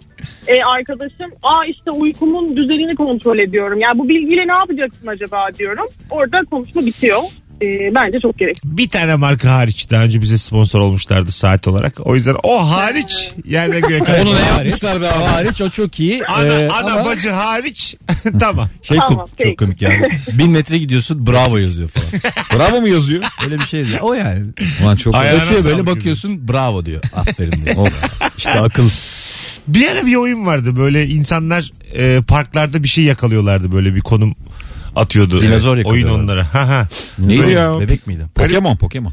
S11: e, arkadaşım aa işte uykumun düzenini kontrol ediyorum. Yani bu bilgiyle ne yapacaksın acaba diyorum. Orada konuşma bitiyor. E, bence çok gerekli.
S2: Bir tane marka hariç daha önce bize sponsor olmuşlardı saat olarak. O yüzden o hariç yerine göre
S4: Onu ne
S2: karışmıyor.
S4: yapmışlar be abi? Hariç o çok iyi.
S2: Ana,
S4: Ee,
S2: ana
S4: ama
S2: bacı hariç tamam.
S4: Şey
S11: Tamam,
S4: çok,
S11: peki.
S4: çok komik yani. Bin metre gidiyorsun bravo yazıyor falan.
S3: Bravo mu yazıyor?
S4: Öyle bir şey yazıyor. O yani.
S3: Ulan çok
S2: Ayağına
S4: Ötüyor böyle
S2: sağlık
S4: bakıyorsun bravo diyor. Aferin diyor. işte akıl.
S2: Bir ara bir oyun vardı böyle insanlar e, parklarda bir şey yakalıyorlardı böyle bir konum atıyordu.
S4: Dinozor
S2: Evet, Oyun
S4: yakalıyorlar.
S2: onlara. Ha ha.
S3: Neydi
S2: Böyle-
S3: ya?
S4: Bebek miydi?
S3: Pokemon Pokemon.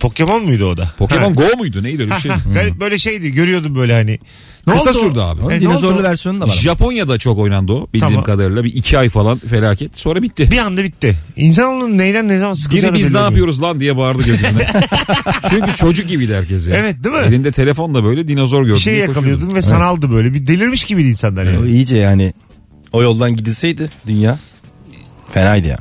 S2: Pokemon muydu o da?
S3: Pokemon
S2: Ha.
S3: Go muydu neydi öyle bir
S2: Ha,
S3: şey?
S2: ha. Garip böyle şeydi görüyordum böyle hani. Ne
S3: Kısa
S2: oldu?
S3: sürdü abi.
S2: E,
S3: Onun
S2: ne
S4: Dinozorlu
S2: oldu?
S4: versiyonu da var. ama.
S3: Japonya'da çok oynandı o bildiğim
S2: Tamam.
S3: kadarıyla. Bir iki ay falan felaket. Sonra bitti.
S2: Bir anda bitti. İnsanoğlunun neyden ne zaman
S3: Biri
S2: sıkılacağını
S3: biz ne
S2: belli olmuyor.
S3: yapıyoruz lan diye bağırdı gökyüzüne. Çünkü çocuk gibiydi herkes yani.
S2: Evet, değil mi?
S3: Elinde telefonla böyle dinozor gördü.
S2: Bir şey
S3: diye
S2: yakalıyordun ve
S3: koşuyordu.
S2: sanaldı böyle. Bir delirmiş gibiydi insanlar yani.
S4: O iyice yani o yoldan gidilseydi dünya fenaydı ya.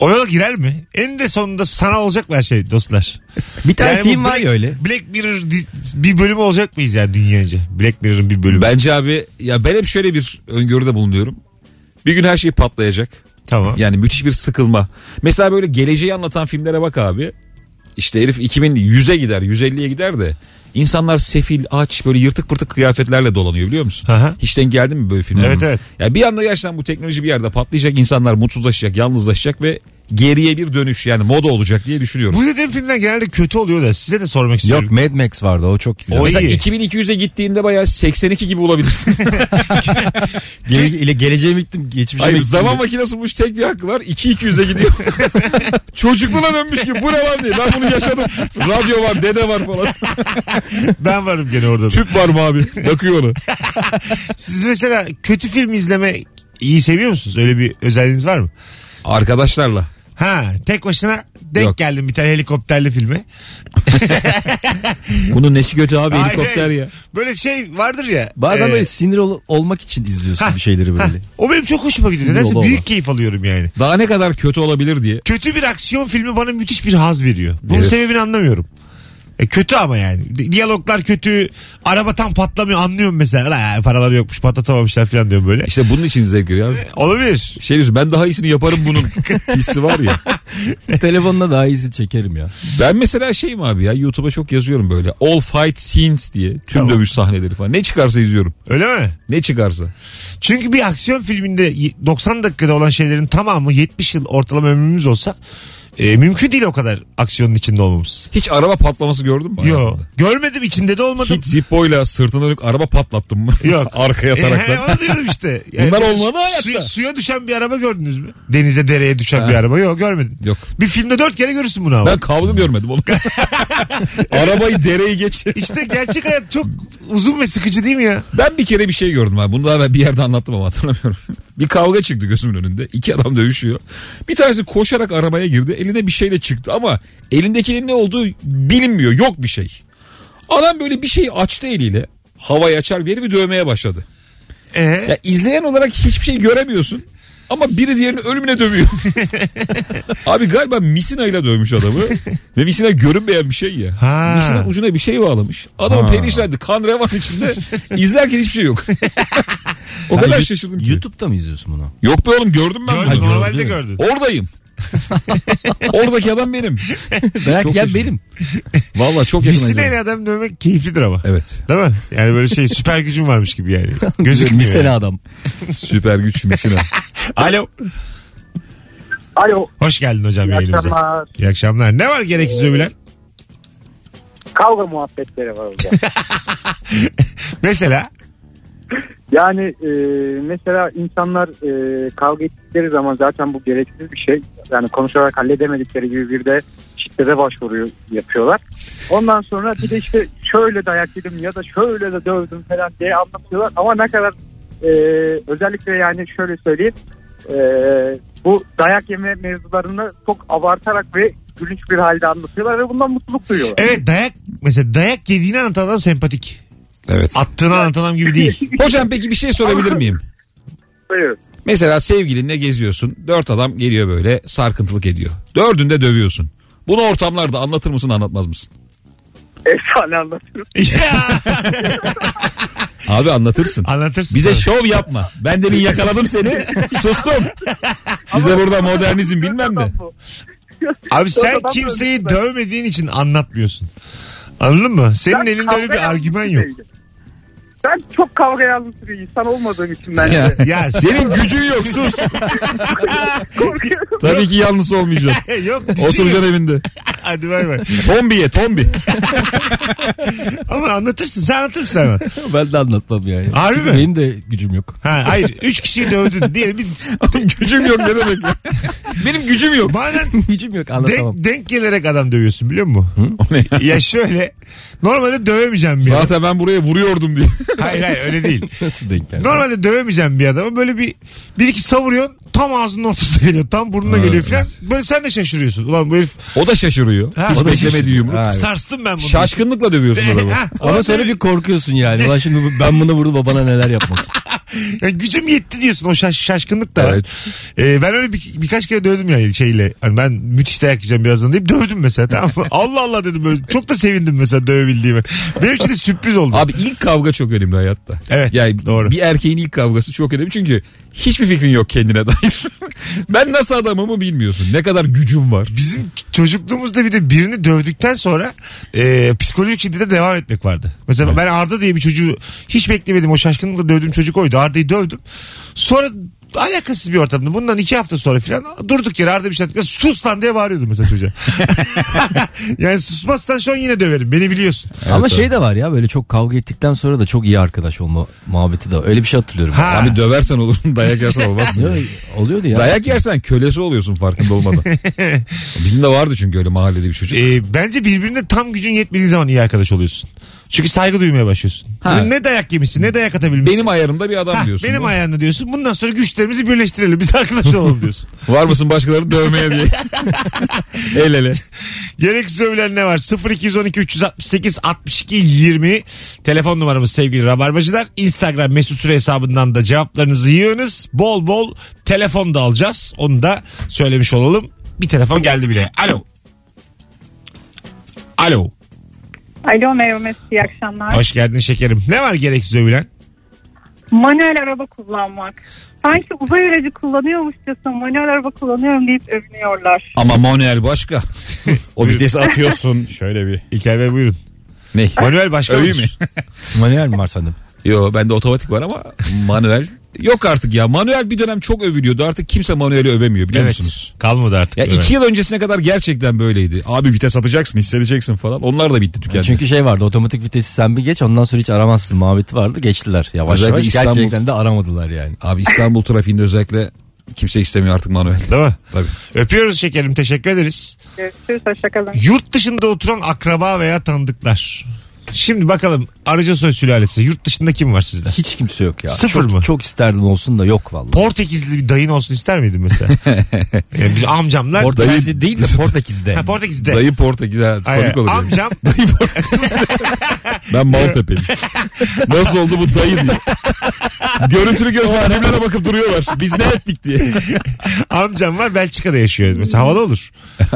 S2: O yola girer mi? En de sonunda sana olacak mı her şey dostlar?
S4: Bir tane
S2: Yani bu
S4: film var
S2: Black-
S4: ya öyle.
S2: Black Mirror di- bir bölümü olacak mıyız yani dünyaca? Black Mirror'ın bir bölümü.
S3: Bence abi ya ben hep şöyle bir öngörüde bulunuyorum. Bir gün her şey patlayacak.
S2: Tamam.
S3: Yani müthiş bir sıkılma. Mesela böyle geleceği anlatan filmlere bak abi. İşte herif 2100'e gider, 150'ye gider de insanlar sefil, aç, böyle yırtık pırtık kıyafetlerle dolanıyor biliyor musun?
S2: Aha.
S3: Hiç denk geldi mi böyle filmlere?
S2: Evet, evet.
S3: Ya bir anda gerçekten bu teknoloji bir yerde patlayacak, insanlar mutsuzlaşacak, yalnızlaşacak ve geriye bir dönüş yani moda olacak diye düşünüyorum.
S2: Bu dediğim filmler genelde kötü oluyor da size de sormak istiyorum.
S4: Yok Mad Max vardı o çok güzel.
S2: O
S3: Mesela
S2: iyi.
S3: 2200'e gittiğinde bayağı 82 gibi olabilirsin.
S4: Gele, ile geleceğe gittim geçmişe
S3: Hayır
S4: gittim.
S3: zaman makinesi bulmuş tek bir hakkı var. 2-200'e gidiyor. Çocukluğuna dönmüş gibi bu ne lan diye. Ben bunu yaşadım. Radyo var, dede var falan.
S2: Ben varım gene orada.
S3: Tüp var mı abi? Bakıyor onu.
S2: Siz mesela kötü film izleme iyi seviyor musunuz? Öyle bir özelliğiniz var mı?
S3: Arkadaşlarla.
S2: Ha tek başına denk
S3: Yok.
S2: geldim bir tane helikopterli filme.
S4: Bunun nesi kötü abi
S2: Aynen. Böyle şey vardır ya.
S4: Bazen
S2: e,
S4: böyle sinir ol- olmak için izliyorsun
S2: Ha,
S4: bir şeyleri
S2: ha,
S4: böyle.
S2: o benim çok hoşuma gidiyor.
S4: Sinir
S2: Nedense
S4: ola
S2: büyük
S4: ola.
S2: keyif alıyorum yani.
S3: Daha ne kadar kötü olabilir diye.
S2: Kötü bir aksiyon filmi bana müthiş bir haz veriyor. Bunun
S3: Evet.
S2: sebebini anlamıyorum. E, kötü ama yani. Di- Diyaloglar kötü. Araba tam patlamıyor anlıyorum mesela. La, paraları yokmuş patlatamamışlar falan diyorum böyle.
S3: İşte bunun için zevk veriyor abi.
S2: Olabilir.
S3: Şey diyorsun ben daha iyisini yaparım bunun hissi var ya.
S4: Telefonla daha iyisi çekerim ya.
S3: Ben mesela şeyim abi ya YouTube'a çok yazıyorum böyle. All fight scenes diye. Tüm
S2: Tamam.
S3: dövüş sahneleri falan. Ne çıkarsa izliyorum.
S2: Öyle mi?
S3: Ne çıkarsa.
S2: Çünkü bir aksiyon filminde y- 90 dakikada olan şeylerin tamamı 70 yıl ortalama ömrümüz olsa e, mümkün değil o kadar aksiyonun içinde olmamız.
S3: Hiç araba patlaması gördün mü?
S2: Yo.
S3: hayatında?
S2: Görmedim içinde de olmadım.
S3: Hiç zippoyla sırtına dönük araba patlattın mı?
S2: Yok.
S3: Arkaya
S2: E,
S3: ataraktan.
S2: he, onu diyorum işte.
S3: Bunlar
S2: böyle
S3: olmadı hayatta.
S2: Suya, suya düşen bir araba gördünüz mü? Denize dereye düşen
S3: Ha.
S2: bir araba. Yok görmedim.
S3: Yok.
S2: Bir filmde dört kere görürsün bunu ama.
S3: Ben kavga görmedim onu. Arabayı dereyi geç.
S2: İşte gerçek hayat çok uzun ve sıkıcı değil mi ya?
S3: Ben bir kere bir şey gördüm abi. Bunu daha ben bir yerde anlattım ama hatırlamıyorum. bir kavga çıktı gözümün önünde. İki adam dövüşüyor. Bir tanesi koşarak arabaya girdi. Eline bir şeyle çıktı ama elindekinin ne olduğu bilinmiyor. Yok bir şey. Adam böyle bir şeyi açtı eliyle. Havayı açar bir herifi dövmeye başladı.
S2: Ee,
S3: Ya izleyen olarak hiçbir şey göremiyorsun. Ama biri diğerinin ölümüne dövüyor. Abi galiba misina ile dövmüş adamı. Ve misina görünmeyen bir şey ya.
S2: Ha.
S3: Misina ucuna bir şey bağlamış. Adam perişan etti. Kan revan içinde. İzlerken hiçbir şey yok. o
S4: Sen
S3: kadar
S4: Yu-
S3: şaşırdım ki.
S4: YouTube'da mı izliyorsun bunu?
S3: Yok be oğlum gördüm ben.
S2: gördün,
S3: bunu.
S2: normalde
S4: gördün.
S2: gördün.
S3: Oradayım. Oradaki adam benim.
S4: Dayak
S3: Çok
S4: yer
S3: şaşırdım.
S4: benim.
S3: Valla çok yakın. acaba.
S2: Misineyle adam dövmek keyiflidir ama.
S3: Evet.
S2: Değil mi? Yani böyle şey süper gücün varmış gibi yani. Gözükmüyor.
S4: Misena
S2: yani.
S4: adam.
S3: Süper güç misina.
S2: Alo.
S12: Alo.
S2: Hoş geldin hocam
S12: iyi
S2: yayınımıza.
S12: akşamlar. Ee,
S2: İyi akşamlar. Ne var gereksiz övülen?
S12: Kavga muhabbetleri var hocam.
S2: Mesela
S12: Yani e, mesela insanlar e, kavga ettikleri zaman zaten bu gereksiz bir şey. Yani konuşarak halledemedikleri gibi bir de şiddete başvuru yapıyorlar. Ondan sonra bir de işte şöyle dayak yedim ya da şöyle de dövdüm falan diye anlatıyorlar. Ama ne kadar e, özellikle yani şöyle söyleyeyim. e, bu dayak yeme mevzularını çok abartarak ve gülünç bir halde anlatıyorlar ve bundan mutluluk duyuyorlar.
S2: evet dayak mesela dayak yediğini anlatan adam sempatik.
S3: Evet.
S2: Attığını anlatamam gibi değil.
S3: Hocam peki bir şey sorabilir miyim?
S8: Buyurun.
S3: Mesela sevgilinle geziyorsun. Dört adam geliyor böyle sarkıntılık ediyor. Dördünü de dövüyorsun. Bunu ortamlarda anlatır mısın anlatmaz mısın?
S8: Efsane anlatıyorum.
S2: Ya,
S3: Abi anlatırsın.
S2: Anlatırsın.
S3: Bize
S2: tabii.
S3: şov yapma. Ben demin yakaladım seni. Sustum. Bize burada modernizm bilmem ne.
S2: Abi sen
S8: Sonradan
S2: kimseyi
S8: böyle-
S2: dövmediğin için anlatmıyorsun. Anladın mı? Senin
S8: Ben
S2: elinde öyle
S8: kavga
S2: bir argüman
S8: yalnız
S2: yok.
S8: biriydim. Ben çok kavga yazmış bir insan olmadığım için ben
S3: Ya.
S2: Ya
S3: Senin gücün yok sus.
S8: korkuyorum.
S3: Tabii ki yalnız olmayacaksın.
S2: yok. bir şey yok.
S3: Oturacaksın evinde.
S2: Hadi bay bay.
S3: Tombiye tombi.
S2: Ama anlatırsın sen anlatırsın hemen.
S4: ben de anlatmam yani.
S2: Harbi
S4: Çünkü
S2: mi?
S4: Benim de gücüm yok.
S2: Ha, hayır. Üç kişiyi dövdün diyelim. Bir,
S3: gücüm yok ne demek ya? Benim gücüm yok.
S2: bazen
S4: gücüm yok anlatamam.
S2: denk, denk gelerek adam dövüyorsun biliyor musun?
S3: O ne ya?
S2: ya şöyle. Normalde dövemeyeceğim bir adam.
S3: Zaten ben buraya vuruyordum diye.
S2: Hayır hayır öyle değil.
S4: Nasıl denk geldi?
S2: Normalde dövemeyeceğim bir adamı böyle bir bir iki savuruyorsun tam ağzının ortasına geliyor tam burnuna geliyor falan. Böyle sen de şaşırıyorsun. Ulan bu herif
S3: O da şaşırıyor.
S2: Ha, o
S3: Hiç
S2: da
S3: beklemediği yumruk.
S4: Ha, evet.
S2: sarstım ben bunu.
S3: Şaşkınlıkla dövüyorsun adamı.
S2: Ha,
S4: Ama sonra bir korkuyorsun yani. Ulan şimdi bu- ben buna vurdum o bana neler yapmaz.
S2: Ya gücüm yetti diyorsun o şaş, şaşkınlık da.
S3: Evet.
S2: Ee, ben öyle bir, birkaç kere dövdüm yani şeyle. Hani ben müthiş dayak yiyeceğim birazdan deyip dövdüm mesela tamam mı? Allah Allah dedim böyle. Çok da sevindim mesela dövebildiğime. Benim için de sürpriz oldu.
S3: Abi ilk kavga çok önemli hayatta.
S2: Evet,
S3: Yani
S2: doğru.
S3: Bir erkeğin ilk kavgası çok önemli çünkü hiçbir fikrin yok kendine dair. ben nasıl adamımı bilmiyorsun. Ne kadar gücüm var.
S2: Bizim çocukluğumuzda bir de birini dövdükten sonra e, psikolojik şiddete devam etmek vardı. Mesela ben Arda diye bir çocuğu hiç beklemedim. O şaşkınlıkla dövdüğüm çocuk oydu. Arda'yı dövdüm. Sonra alakasız bir ortamda bundan iki hafta sonra falan durduk yere Arda bir şey yaptık. sus lan diye bağırıyordum mesela çocuğa. yani susmazsan şu an yine döverim beni biliyorsun.
S4: Ama şey de var ya böyle çok kavga ettikten sonra da çok iyi arkadaş olma muhabbeti de var. Öyle bir şey hatırlıyorum.
S2: Ha.
S3: Abi döversen olur dayak yersen olmazsın.
S4: Yok, Oluyordu ya.
S3: Dayak yersen kölesi oluyorsun farkında olmadan. Bizim de vardı çünkü öyle mahallede bir çocuk.
S2: E, bence birbirine tam gücün yetmediği zaman iyi arkadaş oluyorsun. Çünkü saygı duymaya başlıyorsun.
S3: Ha.
S2: Ne dayak yemişsin ne dayak atabilmişsin.
S3: benim ayarımda bir adam
S2: Ha,
S3: diyorsun.
S2: benim
S3: Bu-
S2: ayağını diyorsun. Bundan sonra güçlerimizi birleştirelim. Biz arkadaş olalım diyorsun.
S3: Var mısın başkalarını dövmeye diye. el ele.
S2: Gereksiz övülen ne var? 0212 368 62 20 telefon numaramız sevgili Rabarbacılar. Instagram mesut süre hesabından da cevaplarınızı yığınız. Bol bol telefon da alacağız. Onu da söylemiş olalım. Bir telefon geldi bile. Alo. Alo.
S5: Alo merhaba Mesut iyi akşamlar.
S2: Hoş geldin şekerim. Ne var gereksiz övülen?
S5: Manuel araba kullanmak. Sanki uzay aracı kullanıyormuşçasına manuel araba kullanıyorum deyip övünüyorlar.
S3: Ama manuel başka. o vitesi atıyorsun. Şöyle bir.
S2: İlker Bey buyurun.
S3: Ne?
S2: Manuel başka
S3: Öveyim
S2: mıdır?
S3: mi?
S4: Manuel mi var sende?
S3: Yo bende otomatik var ama manuel yok artık ya. Manuel bir dönem çok övülüyordu. Artık kimse manueli övemiyor biliyor
S2: Evet.
S3: musunuz?
S2: Kalmadı artık.
S3: Ya
S2: öven.
S3: iki yıl öncesine kadar gerçekten böyleydi. Abi vites atacaksın hissedeceksin falan. Onlar da bitti tükendi.
S4: Çünkü şey vardı otomatik vitesi sen bir geç ondan sonra hiç aramazsın muhabbeti vardı geçtiler. Yavaş
S3: Özellikle
S4: yavaş
S3: İstanbul-
S4: gerçekten de aramadılar yani.
S3: Abi İstanbul trafiğinde özellikle kimse istemiyor artık manuel.
S2: Değil mi?
S3: Tabii.
S2: Öpüyoruz şekerim. Teşekkür ederiz.
S5: Görüşürüz hoşçakalın.
S2: Yurt dışında oturan akraba veya tanıdıklar. Şimdi bakalım arıca soy sülalesi. Yurt dışında kim var sizde?
S4: Hiç kimse yok ya.
S2: Sıfır
S4: çok,
S2: mı?
S4: Çok isterdim olsun da yok vallahi.
S2: Portekizli bir dayın olsun ister miydin mesela? yani biz amcamlar...
S4: Portekizli değil de Portekiz'de.
S2: Ha, Portekiz'de.
S3: Dayı Portekiz ha,
S2: Ay,
S3: komik olur. yani.
S2: amcam
S3: Ben Maltepe'liyim. Nasıl oldu bu dayı diye. Görüntülü göz var. Annemlere bakıp duruyorlar. Biz ne ettik diye.
S2: amcam var Belçika'da yaşıyor. Mesela havada olur.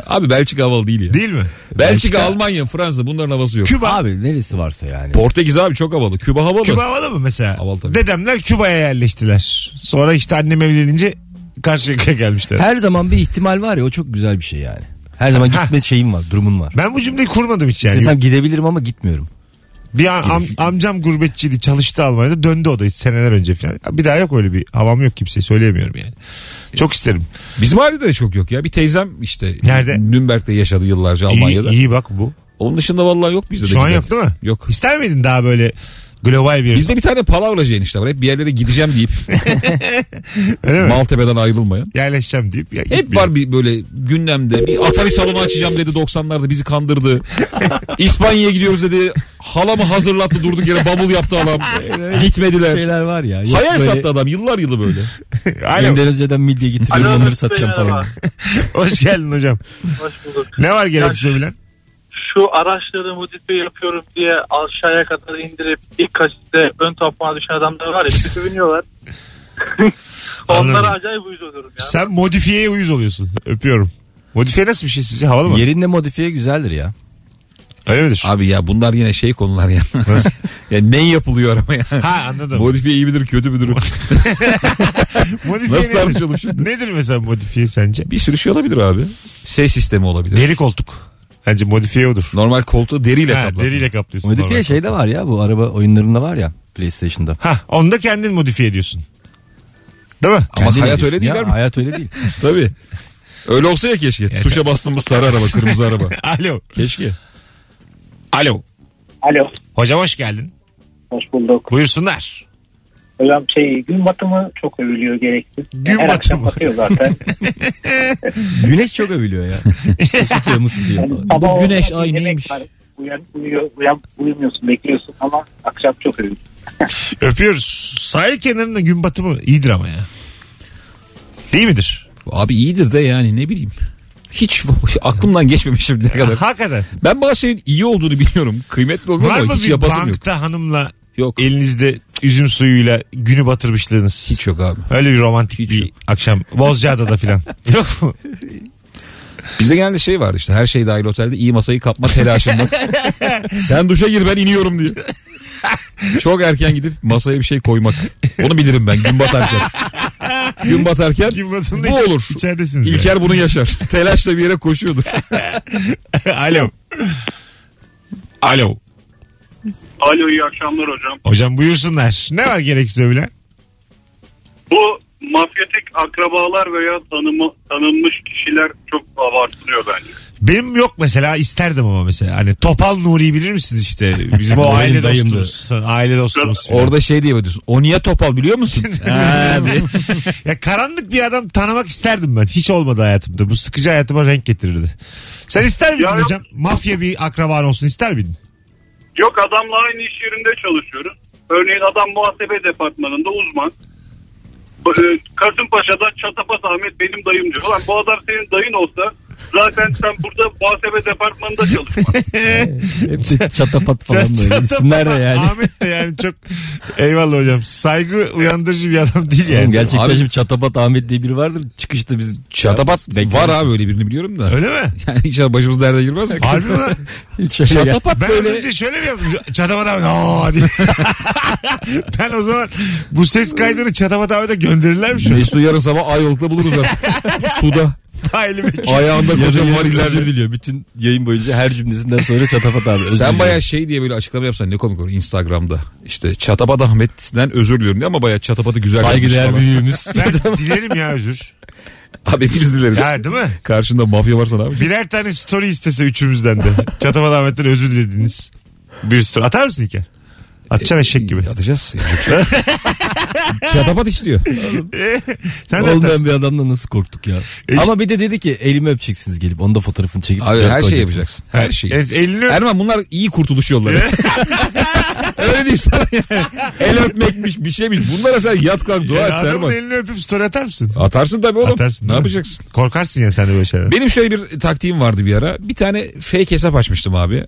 S3: Abi Belçika havalı değil ya.
S2: Değil mi?
S3: Belçika, Almanya, Fransa bunların havası yok.
S2: Küba.
S4: Abi neresi varsa yani.
S3: Portekiz abi çok havalı. Küba havalı.
S2: Küba havada mı mesela?
S3: Havalı tabii.
S2: Dedemler Küba'ya yerleştiler. Sonra işte annem evlenince Karşıyaka'ya gelmişler.
S4: Her zaman bir ihtimal var ya o çok güzel bir şey yani. Her zaman
S2: Ha.
S4: gitme şeyim var durumun var.
S2: Ben bu cümleyi kurmadım hiç yani.
S4: İstesem gidebilirim ama gitmiyorum.
S2: Bir an- am- amcam gurbetçiydi çalıştı Almanya'da döndü o da seneler önce falan. Bir daha yok öyle bir havam yok kimseye söyleyemiyorum yani. Çok isterim.
S3: Bizim mahallede de çok yok ya. Bir teyzem işte
S2: Nerede?
S3: Nürnberg'de yaşadı yıllarca
S2: İyi,
S3: Almanya'da.
S2: iyi bak bu.
S3: Onun dışında vallahi yok bizde de.
S2: Şu an
S3: giden.
S2: yok değil mi?
S3: Yok.
S2: İster miydin daha böyle global bir...
S3: Bizde bir tane palavracı enişte var. Hep bir yerlere gideceğim deyip
S2: Öyle mi?
S3: Maltepe'den ayrılmayan.
S2: Yerleşeceğim deyip. Ya,
S3: Hep var bir böyle gündemde bir Atari salonu açacağım dedi 90'larda bizi kandırdı. İspanya'ya gidiyoruz dedi. Halamı hazırlattı durduk yere bavul yaptı halam. Gitmediler.
S4: Şeyler var ya. yok
S3: Hayal
S4: böyle
S3: sattı adam yıllar yılı böyle.
S2: Alo.
S4: Endonezya'dan midye getiriyorum
S10: Alo,
S4: onları
S10: Mesut
S4: satacağım
S10: Bey,
S4: falan.
S10: merhaba.
S2: Hoş geldin hocam.
S10: Hoş bulduk.
S2: Ne var gereksiz övülen?
S10: şu araçları modifiye yapıyorum diye aşağıya kadar indirip ilk kaçta ön tapmağa düşen adamlar var ya sürünüyorlar.
S2: Anladım.
S10: Onlara acayip uyuz olurum ya.
S2: Sen modifiyeye uyuz oluyorsun. Öpüyorum. Modifiye nasıl bir şey sizce? Havalı mı?
S4: Yerinde modifiye güzeldir ya.
S2: Öyle midir?
S3: Abi ya bunlar yine şey konular ya. ya ne yapılıyor ama ya.
S2: Ha anladım.
S3: Modifiye iyi midir kötü müdür?
S2: modifiye
S3: Nasıl
S2: nedir?
S3: tartışalım şimdi?
S2: Nedir mesela modifiye sence?
S3: Bir sürü şey olabilir abi. Ses sistemi olabilir.
S2: Deri koltuk. Bence modifiye odur.
S3: Normal koltuğu deriyle
S2: Ha,
S3: kaplar.
S2: deriyle kaplıyorsun.
S4: Modifiye
S2: normal.
S4: şey de var ya bu araba oyunlarında var ya PlayStation'da.
S2: Ha, onu da kendin modifiye ediyorsun. Değil mi?
S3: Ama
S4: Kendin
S3: hayat
S4: ediyorsun
S3: öyle değil
S4: ya,
S3: mi?
S4: Hayat öyle değil.
S3: Tabii. Öyle olsa ya keşke. Tuşa bastın mı sarı araba, kırmızı araba.
S2: Alo.
S3: Keşke.
S2: Alo.
S7: Alo.
S2: Hocam hoş geldin.
S7: Hoş bulduk.
S2: Buyursunlar.
S7: Hocam şey gün batımı çok övülüyor gerekli.
S2: Gün
S7: Her akşam
S2: batımı.
S7: batıyor zaten.
S4: Güneş çok övülüyor ya. Isıtıyor musluyor
S7: Yani
S4: falan.
S7: sabah
S3: Bu güneş,
S7: olmadan
S3: ay
S7: yemek
S3: neymiş?
S7: var. Uyan, uyuyor, uyan, uyumuyorsun bekliyorsun ama akşam çok övülüyor.
S2: Öpüyoruz. Sahil kenarında gün batımı iyidir ama ya. Değil midir?
S3: Abi iyidir de yani ne bileyim. Hiç aklımdan geçmemiş şimdiye kadar.
S2: Hakikaten.
S3: Ben bazı şeyin iyi olduğunu biliyorum. Kıymetli olduğunu
S2: Var
S3: ama
S2: mı
S3: hiç
S2: bir E-
S3: yapasım yok.
S2: bankta hanımla
S3: Yok.
S2: elinizde üzüm suyuyla günü batırmışlığınız?
S3: Hiç yok abi.
S2: Öyle bir romantik
S3: Hiç
S2: bir
S3: yok.
S2: akşam. Bozcaada'da filan. yok mu?
S3: Bizde genelde şey var işte her şey dahil otelde iyi masayı kapma telaşında. Sen duşa gir ben iniyorum diye. Çok erken gidip masaya bir şey koymak. Onu bilirim ben gün batarken. Gün batarken
S2: Gün batımında
S3: bu
S2: iç-
S3: olur.
S2: içeridesiniz.
S3: İlker bunu yaşar. Telaşla bir yere koşuyordur.
S2: yani. Alo. Alo.
S10: Alo iyi akşamlar hocam.
S2: Hocam buyursunlar. Ne var gereksiz övülen?
S10: Bu mafyatik akrabalar veya tanımı, tanınmış kişiler çok abartılıyor bence.
S2: Benim yok mesela isterdim ama mesela. Hani Topal Nuri'yi bilir misiniz işte? Bizim o
S4: Benim
S2: aile
S4: dayımdı.
S2: dostumuz. Aile dostumuz. filan.
S3: Orada şey diye diyorsun. O niye topal biliyor musun? Ha, diye.
S2: Ya karanlık bir adam tanımak isterdim ben. Hiç olmadı hayatımda. Bu sıkıcı hayatıma renk getirirdi. Sen ister miydin
S10: Ya yok.
S2: hocam? Mafya bir akraban olsun ister miydin?
S10: Yok adamla aynı iş yerinde çalışıyoruz. Örneğin adam muhasebe departmanında uzman. Ee, Kasımpaşa'da Çatapat Ahmet benim dayım diyor. Ulan bu adam senin dayın olsa zaten sen burada muhasebe departmanında çalışman.
S4: Hepsi çatapat falan
S2: Çat-
S4: böyle.
S2: çat-
S4: İsimler de yani.
S2: Ahmet de yani çok eyvallah hocam. Saygı uyandırıcı bir adam değil yani.
S4: Oğlum gerçekten
S3: Abi-
S4: şimdi Çatapat Ahmet diye biri vardır. Çıkışta biz
S3: Çatapat
S4: Beklemesin.
S3: var abi öyle birini biliyorum da.
S2: Öyle mi?
S3: Yani inşallah başımız derde girmez.
S2: Harbi mi? lan?
S4: hiç öyle gel-
S3: Çatapat
S2: Ben az
S3: böyle
S2: önce şöyle mi yaptım? Çatapat abi. "Aa!" diye. ben o zaman bu ses kaydını Çatapat abi de gönderirler mi şu an?
S3: Mesut yarın sabah Ayvalık'ta buluruz artık. Suda.
S2: Faili meçhul.
S3: Ayağında kocaman var
S4: Özür diliyor. Bütün yayın boyunca her cümlesinden sonra Çatapat abi. özür
S3: Sen
S4: diliyor.
S3: bayağı şey diye böyle açıklama yapsan ne komik olur Instagram'da. İşte Çatapat Ahmet'den özür diliyorum diye ama bayağı Çatapat'ı güzel yazmış
S4: saygıdeğer
S3: falan.
S4: büyüğümüz.
S2: Ben dilerim ya özür.
S3: Abi biz dileriz.
S2: Ya değil mi?
S3: Karşında mafya varsa ne yapacaksın?
S2: Birer tane story istese üçümüzden de. Çatapat Ahmet'ten özür dilediniz. Bir story. Atar mısın İlker? Atacaksın eşek gibi.
S3: Atacağız. Yani çok- Çatapat istiyor.
S2: Sen de
S4: Oğlum
S2: atarsın.
S4: ben bir adamla nasıl korktuk ya.
S2: E işte-
S4: Ama bir de dedi ki elimi öpeceksiniz gelip onda fotoğrafını çekip.
S3: Abi
S4: dört
S3: her şeyi
S4: koyacaksınız.
S3: yapacaksın. Her şeyi.
S2: Evet, elini öp.
S3: Erman bunlar iyi kurtuluş yolları. Öyle değil sana yani. El öpmekmiş bir şeymiş. Bunlara sen yat kalk dua et
S2: Adamın
S3: Erman.
S2: elini öpüp story atar mısın?
S3: Atarsın tabii oğlum.
S2: Atarsın,
S3: ne
S2: değil mi?
S3: yapacaksın?
S2: Korkarsın ya sen de böyle şeyler.
S3: Benim şöyle bir taktiğim vardı bir ara. Bir tane fake hesap açmıştım abi.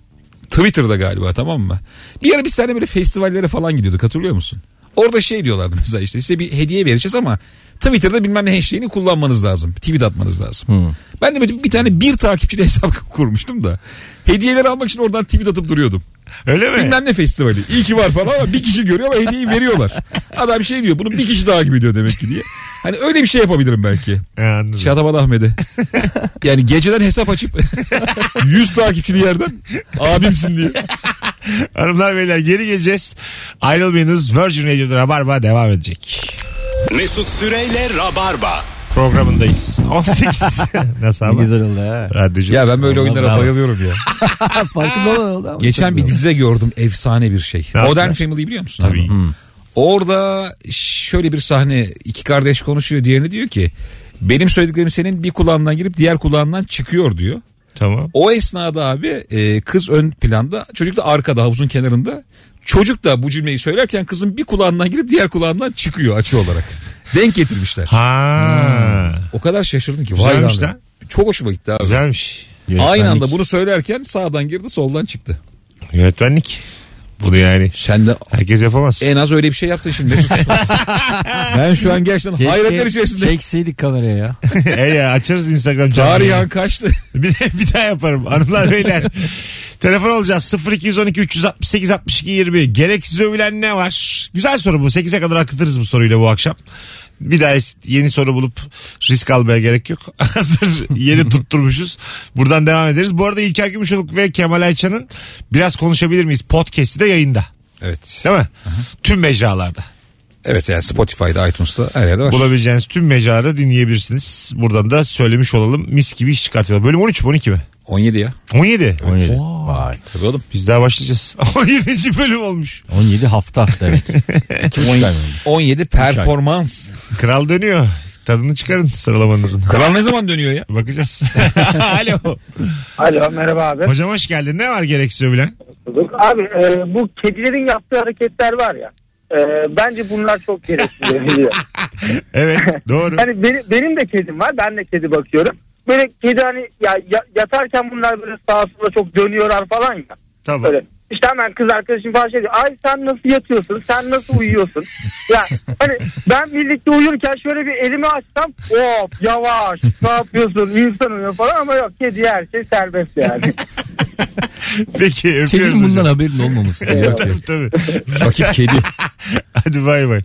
S3: Twitter'da galiba tamam mı? Bir ara biz seninle böyle festivallere falan gidiyorduk hatırlıyor musun? Orada şey diyorlardı mesela işte size bir hediye vereceğiz ama Twitter'da bilmem ne hashtag'ini kullanmanız lazım. Tweet atmanız lazım. Ben de böyle bir tane bir takipçili hesap kurmuştum da. Hediyeleri almak için oradan tweet atıp duruyordum.
S2: Öyle mi?
S3: Bilmem ne festivali. İyi ki var falan ama bir kişi görüyor ama hediyeyi veriyorlar. Adam şey diyor bunu bir kişi daha gibi diyor demek ki diye. Hani öyle bir şey yapabilirim belki.
S2: Ya, anladım.
S3: Şatabat Ahmet'e. yani geceden hesap açıp 100 takipçili yerden abimsin diye.
S2: Hanımlar beyler geri geleceğiz. Ayrılmayınız. Virgin Radio'da Rabarba devam edecek.
S1: Mesut Süreyle Rabarba.
S2: Programındayız. 18. Nasıl
S4: Ne
S2: ama?
S4: güzel oldu ha.
S2: Radyocu.
S3: Ya ben böyle oyunlara
S4: bravo.
S3: bayılıyorum ya.
S4: Farkında olmadı ama
S3: Geçen
S4: çok
S3: bir
S4: güzel.
S3: dizide gördüm efsane bir şey.
S2: Ne
S3: Modern
S2: yaptı?
S3: Family'yi biliyor musun?
S2: Tabii.
S3: abi? Orada şöyle bir sahne iki kardeş konuşuyor diğerine diyor ki benim söylediklerim senin bir kulağından girip diğer kulağından çıkıyor diyor.
S2: Tamam.
S3: O esnada abi e, kız ön planda çocuk da arkada havuzun kenarında. Çocuk da bu cümleyi söylerken kızın bir kulağından girip diğer kulağından çıkıyor açı olarak. Denk getirmişler.
S2: Ha.
S3: Hmm. O kadar şaşırdım ki. Vay
S2: Güzelmiş
S3: lan.
S2: lan.
S3: Çok hoşuma gitti abi.
S2: Güzelmiş.
S3: Aynı anda bunu söylerken sağdan girdi soldan çıktı.
S2: Yönetmenlik. Bunu yani
S3: Sen de
S2: herkes yapamaz.
S3: en az öyle bir şey yaptın şimdi. Mesut. ben şu an gerçekten hayretler içerisinde.
S4: Çekseydik kameraya ya.
S2: e ya açarız Instagram
S4: şey
S2: canlı.
S3: Tarihan kaçtı.
S2: Bir, de- bir daha yaparım. Hanımlar beyler. Telefon alacağız. 0212 368 62 20. Gereksiz övülen ne var? Güzel soru bu. 8'e kadar akıtırız bu soruyla bu akşam. Bir daha es- yeni soru bulup risk almaya gerek yok. Hazır yeni tutturmuşuz. Buradan devam ederiz. Bu arada İlker Gümüşoluk ve Kemal Ayça'nın biraz konuşabilir miyiz? Podcast'i de yayında.
S3: Evet.
S2: Değil mi? Tüm mecralarda.
S3: Evet yani Spotify'da, iTunes'ta her yerde var.
S2: Bulabileceğiniz tüm mecralarda dinleyebilirsiniz. Buradan da söylemiş olalım. Mis gibi iş çıkartıyorlar. Bölüm 13 mü 12 mi?
S3: 17 ya.
S2: 17.
S4: Vay.
S3: Tabii oğlum.
S2: Biz daha başlayacağız. 17. bölüm olmuş.
S4: 17 hafta demek. İki
S2: şey
S4: buçuk ay mı?
S3: 17 performans.
S2: Kral dönüyor. Tadını çıkarın sıralamanızın.
S3: Kral ne zaman dönüyor ya?
S2: Bakacağız. Alo.
S7: Alo merhaba abi.
S2: Hocam hoş geldin. Ne var gereksiz övülen?
S7: Abi e, bu kedilerin yaptığı hareketler var ya. e, bence bunlar çok gereksiz. geliyor.
S2: Evet doğru.
S7: Yani benim, benim de kedim var. Ben de kedi bakıyorum. Böyle kedi hani ya, ya- yatarken bunlar böyle sağa sola çok dönüyorlar falan ya.
S2: Tamam.
S7: Böyle. İşte hemen kız arkadaşım falan şey diyor. Ay sen nasıl yatıyorsun? Sen nasıl uyuyorsun? ya hani ben birlikte uyurken şöyle bir elimi açsam hop yavaş ne yapıyorsun insan uyuyor falan ama yok kedi her şey serbest yani.
S2: Peki öpüyoruz
S4: Kedinin bundan
S2: hocam.
S4: haberin olmaması. gerekiyor.
S2: Tabii, tabii.
S3: Rakip kedi.
S2: Hadi bay bay.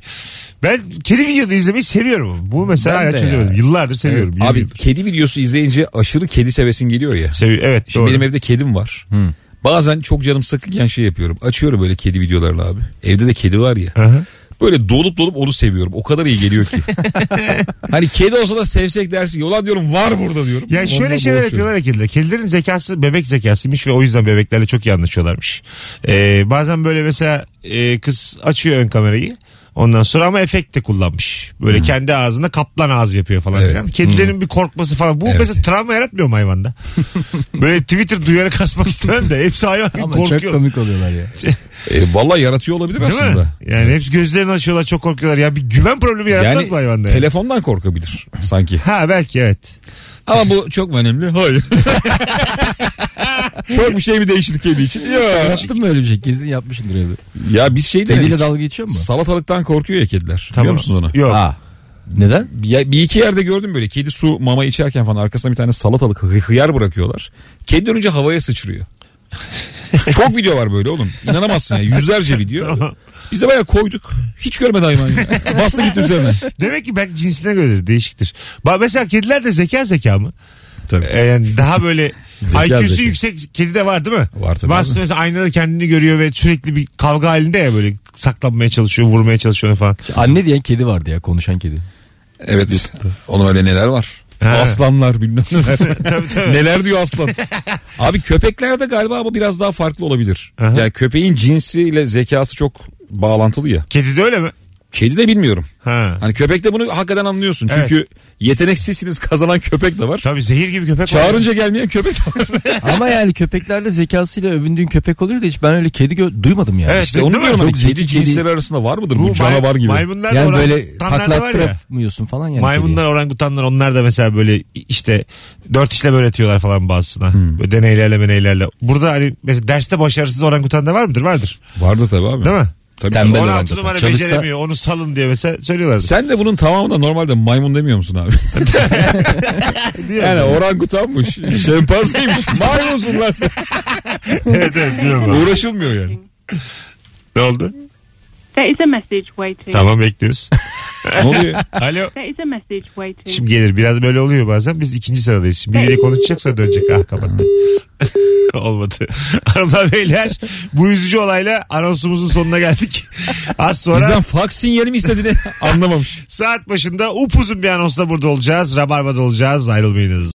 S2: Ben kedi videoda izlemeyi seviyorum. Bu mesela
S4: Ben
S2: hala
S4: de
S2: çözemedim.
S4: ya.
S2: Yıllardır seviyorum. yirmi
S3: Abi
S2: yıldır.
S3: kedi videosu izleyince aşırı kedi sevesin geliyor ya.
S2: Sevi- evet
S3: Şimdi
S2: doğru.
S3: benim evde kedim var. Bazen çok canım sıkıkken şey yapıyorum. Açıyorum böyle kedi videolarla abi. Evde de kedi var ya.
S2: Hı hı.
S3: Böyle dolup dolup onu seviyorum. O kadar iyi geliyor ki. hani kedi olsa da sevsek dersin. Yolan diyorum var burada diyorum.
S2: Ya şöyle
S3: Ondan
S2: şeyler
S3: dolaşıyorum.
S2: yapıyorlar ya kediler. Kedilerin zekası bebek zekasıymış ve o yüzden bebeklerle çok iyi anlaşıyorlarmış. Ee, bazen böyle mesela e, kız açıyor ön kamerayı. Ondan sonra ama efekt de kullanmış. Böyle kendi ağzında kaplan ağzı yapıyor falan.
S3: Hmm. Evet. Hmm.
S2: filan. Kedilerin bir korkması falan. Bu
S3: Evet.
S2: mesela travma yaratmıyor mu hayvanda? Böyle Twitter duyarı kasmak istemem de hepsi hayvan gibi
S4: Ama çok
S2: korkuyor.
S4: komik oluyorlar ya.
S3: E, Valla yaratıyor olabilir
S2: Değil mi?
S3: aslında.
S2: Yani hepsi gözlerini açıyorlar çok korkuyorlar. Ya bir güven problemi yaratmaz mı hayvanda? yani?
S3: telefondan korkabilir sanki.
S2: Ha belki evet.
S3: Ama bu çok mu önemli? Hayır. çok bir şey mi değişir kedi için? Ya,
S4: Ee, Yaptın mı öyle bir şey? Kesin yapmışsındır evde.
S3: ya biz şey
S4: Kediyle
S3: denedik.
S4: dalga geçiyor mu?
S3: Salatalıktan korkuyor ya kediler. Biliyor musunuz onu?
S2: Yok.
S4: Ha. Neden?
S3: Ya bir iki yerde gördüm böyle kedi su mama içerken falan arkasına bir tane salatalık hı- hıyar bırakıyorlar. Kedi dönünce havaya sıçrıyor. Çok video var böyle oğlum. İnanamazsın ya. Yüzlerce video. Biz de bayağı koyduk. Hiç görmedi hayvan ya. Bastı gitti üzerine.
S2: Demek ki belki cinsine göre değişiktir. Bak mesela kediler de zeka zeka mı?
S3: Tabii.
S2: Ee, yani daha böyle
S3: Zeka
S2: IQ'su
S3: zeka.
S2: yüksek kedi de var değil mi?
S3: Var tabii
S2: Bazısı
S3: abi.
S2: mesela aynada kendini görüyor ve sürekli bir kavga halinde ya böyle saklanmaya çalışıyor, vurmaya çalışıyor falan.
S4: Anne diyen kedi vardı ya konuşan kedi.
S3: Evet. Onun öyle neler var.
S2: Ha.
S3: Aslanlar bilmem neler. neler diyor aslan. Abi köpeklerde galiba ama biraz daha farklı olabilir.
S2: Aha.
S3: Yani köpeğin cinsiyle zekası çok bağlantılı ya.
S2: Kedi de öyle mi?
S3: Kedi de bilmiyorum.
S2: Ha.
S3: Hani köpekte bunu hakikaten anlıyorsun.
S2: Evet.
S3: Çünkü yeteneksizsiniz kazanan köpek de var.
S2: Tabii zehir gibi köpek var.
S3: Çağırınca gelmeyen köpek de var.
S4: Ama yani köpeklerde zekasıyla övündüğün köpek oluyor da hiç ben öyle kedi gö- duymadım yani.
S2: Evet,
S3: İşte onu
S2: Değil mi?
S3: diyorum hani
S4: Çok zeki
S3: kedi
S4: kedi.
S3: cinsleri arasında var mıdır bu,
S2: may-
S3: canavar gibi?
S2: Maymunlar
S4: yani
S2: da
S4: böyle
S2: orangutanlar da var ya.
S4: taklattıramıyorsun falan yani.
S2: Maymunlar, orangutanlar onlar da mesela böyle işte dört işlem öğretiyorlar falan bazısına.
S3: Hmm.
S2: Böyle deneylerle meneylerle. Burada hani mesela derste başarısız orangutan da var mıdır? Vardır.
S3: Vardı tabii abi.
S2: Değil mi?
S3: Tabii.
S4: Tembel
S3: Ona-
S4: orangutan.
S2: 16 numara
S4: Çalışsa-
S2: beceremiyor onu salın diye mesela söylüyorlardı.
S3: Sen de bunun tamamına normalde maymun demiyor musun abi? yani orangutanmış, şempanzeymiş, maymunsun lan sen.
S2: evet evet diyorum ben.
S3: Uğraşılmıyor yani.
S2: Ne oldu?
S5: There is a message waiting.
S2: Tamam bekliyoruz.
S3: Ne oluyor?
S2: Alo.
S5: There is a message waiting.
S2: Şimdi gelir biraz böyle oluyor bazen biz ikinci sıradayız. Şimdi biriyle konuşacak sonra dönecek. Ah kapattı. Olmadı. Hanımlar beyler bu üzücü olayla anonsumuzun sonuna geldik. Az sonra
S3: Bizden fax sinyali mi istediğini anlamamış.
S2: saat başında upuzun bir anonsla burada olacağız. Rabarba'da olacağız. Ayrılmayınız.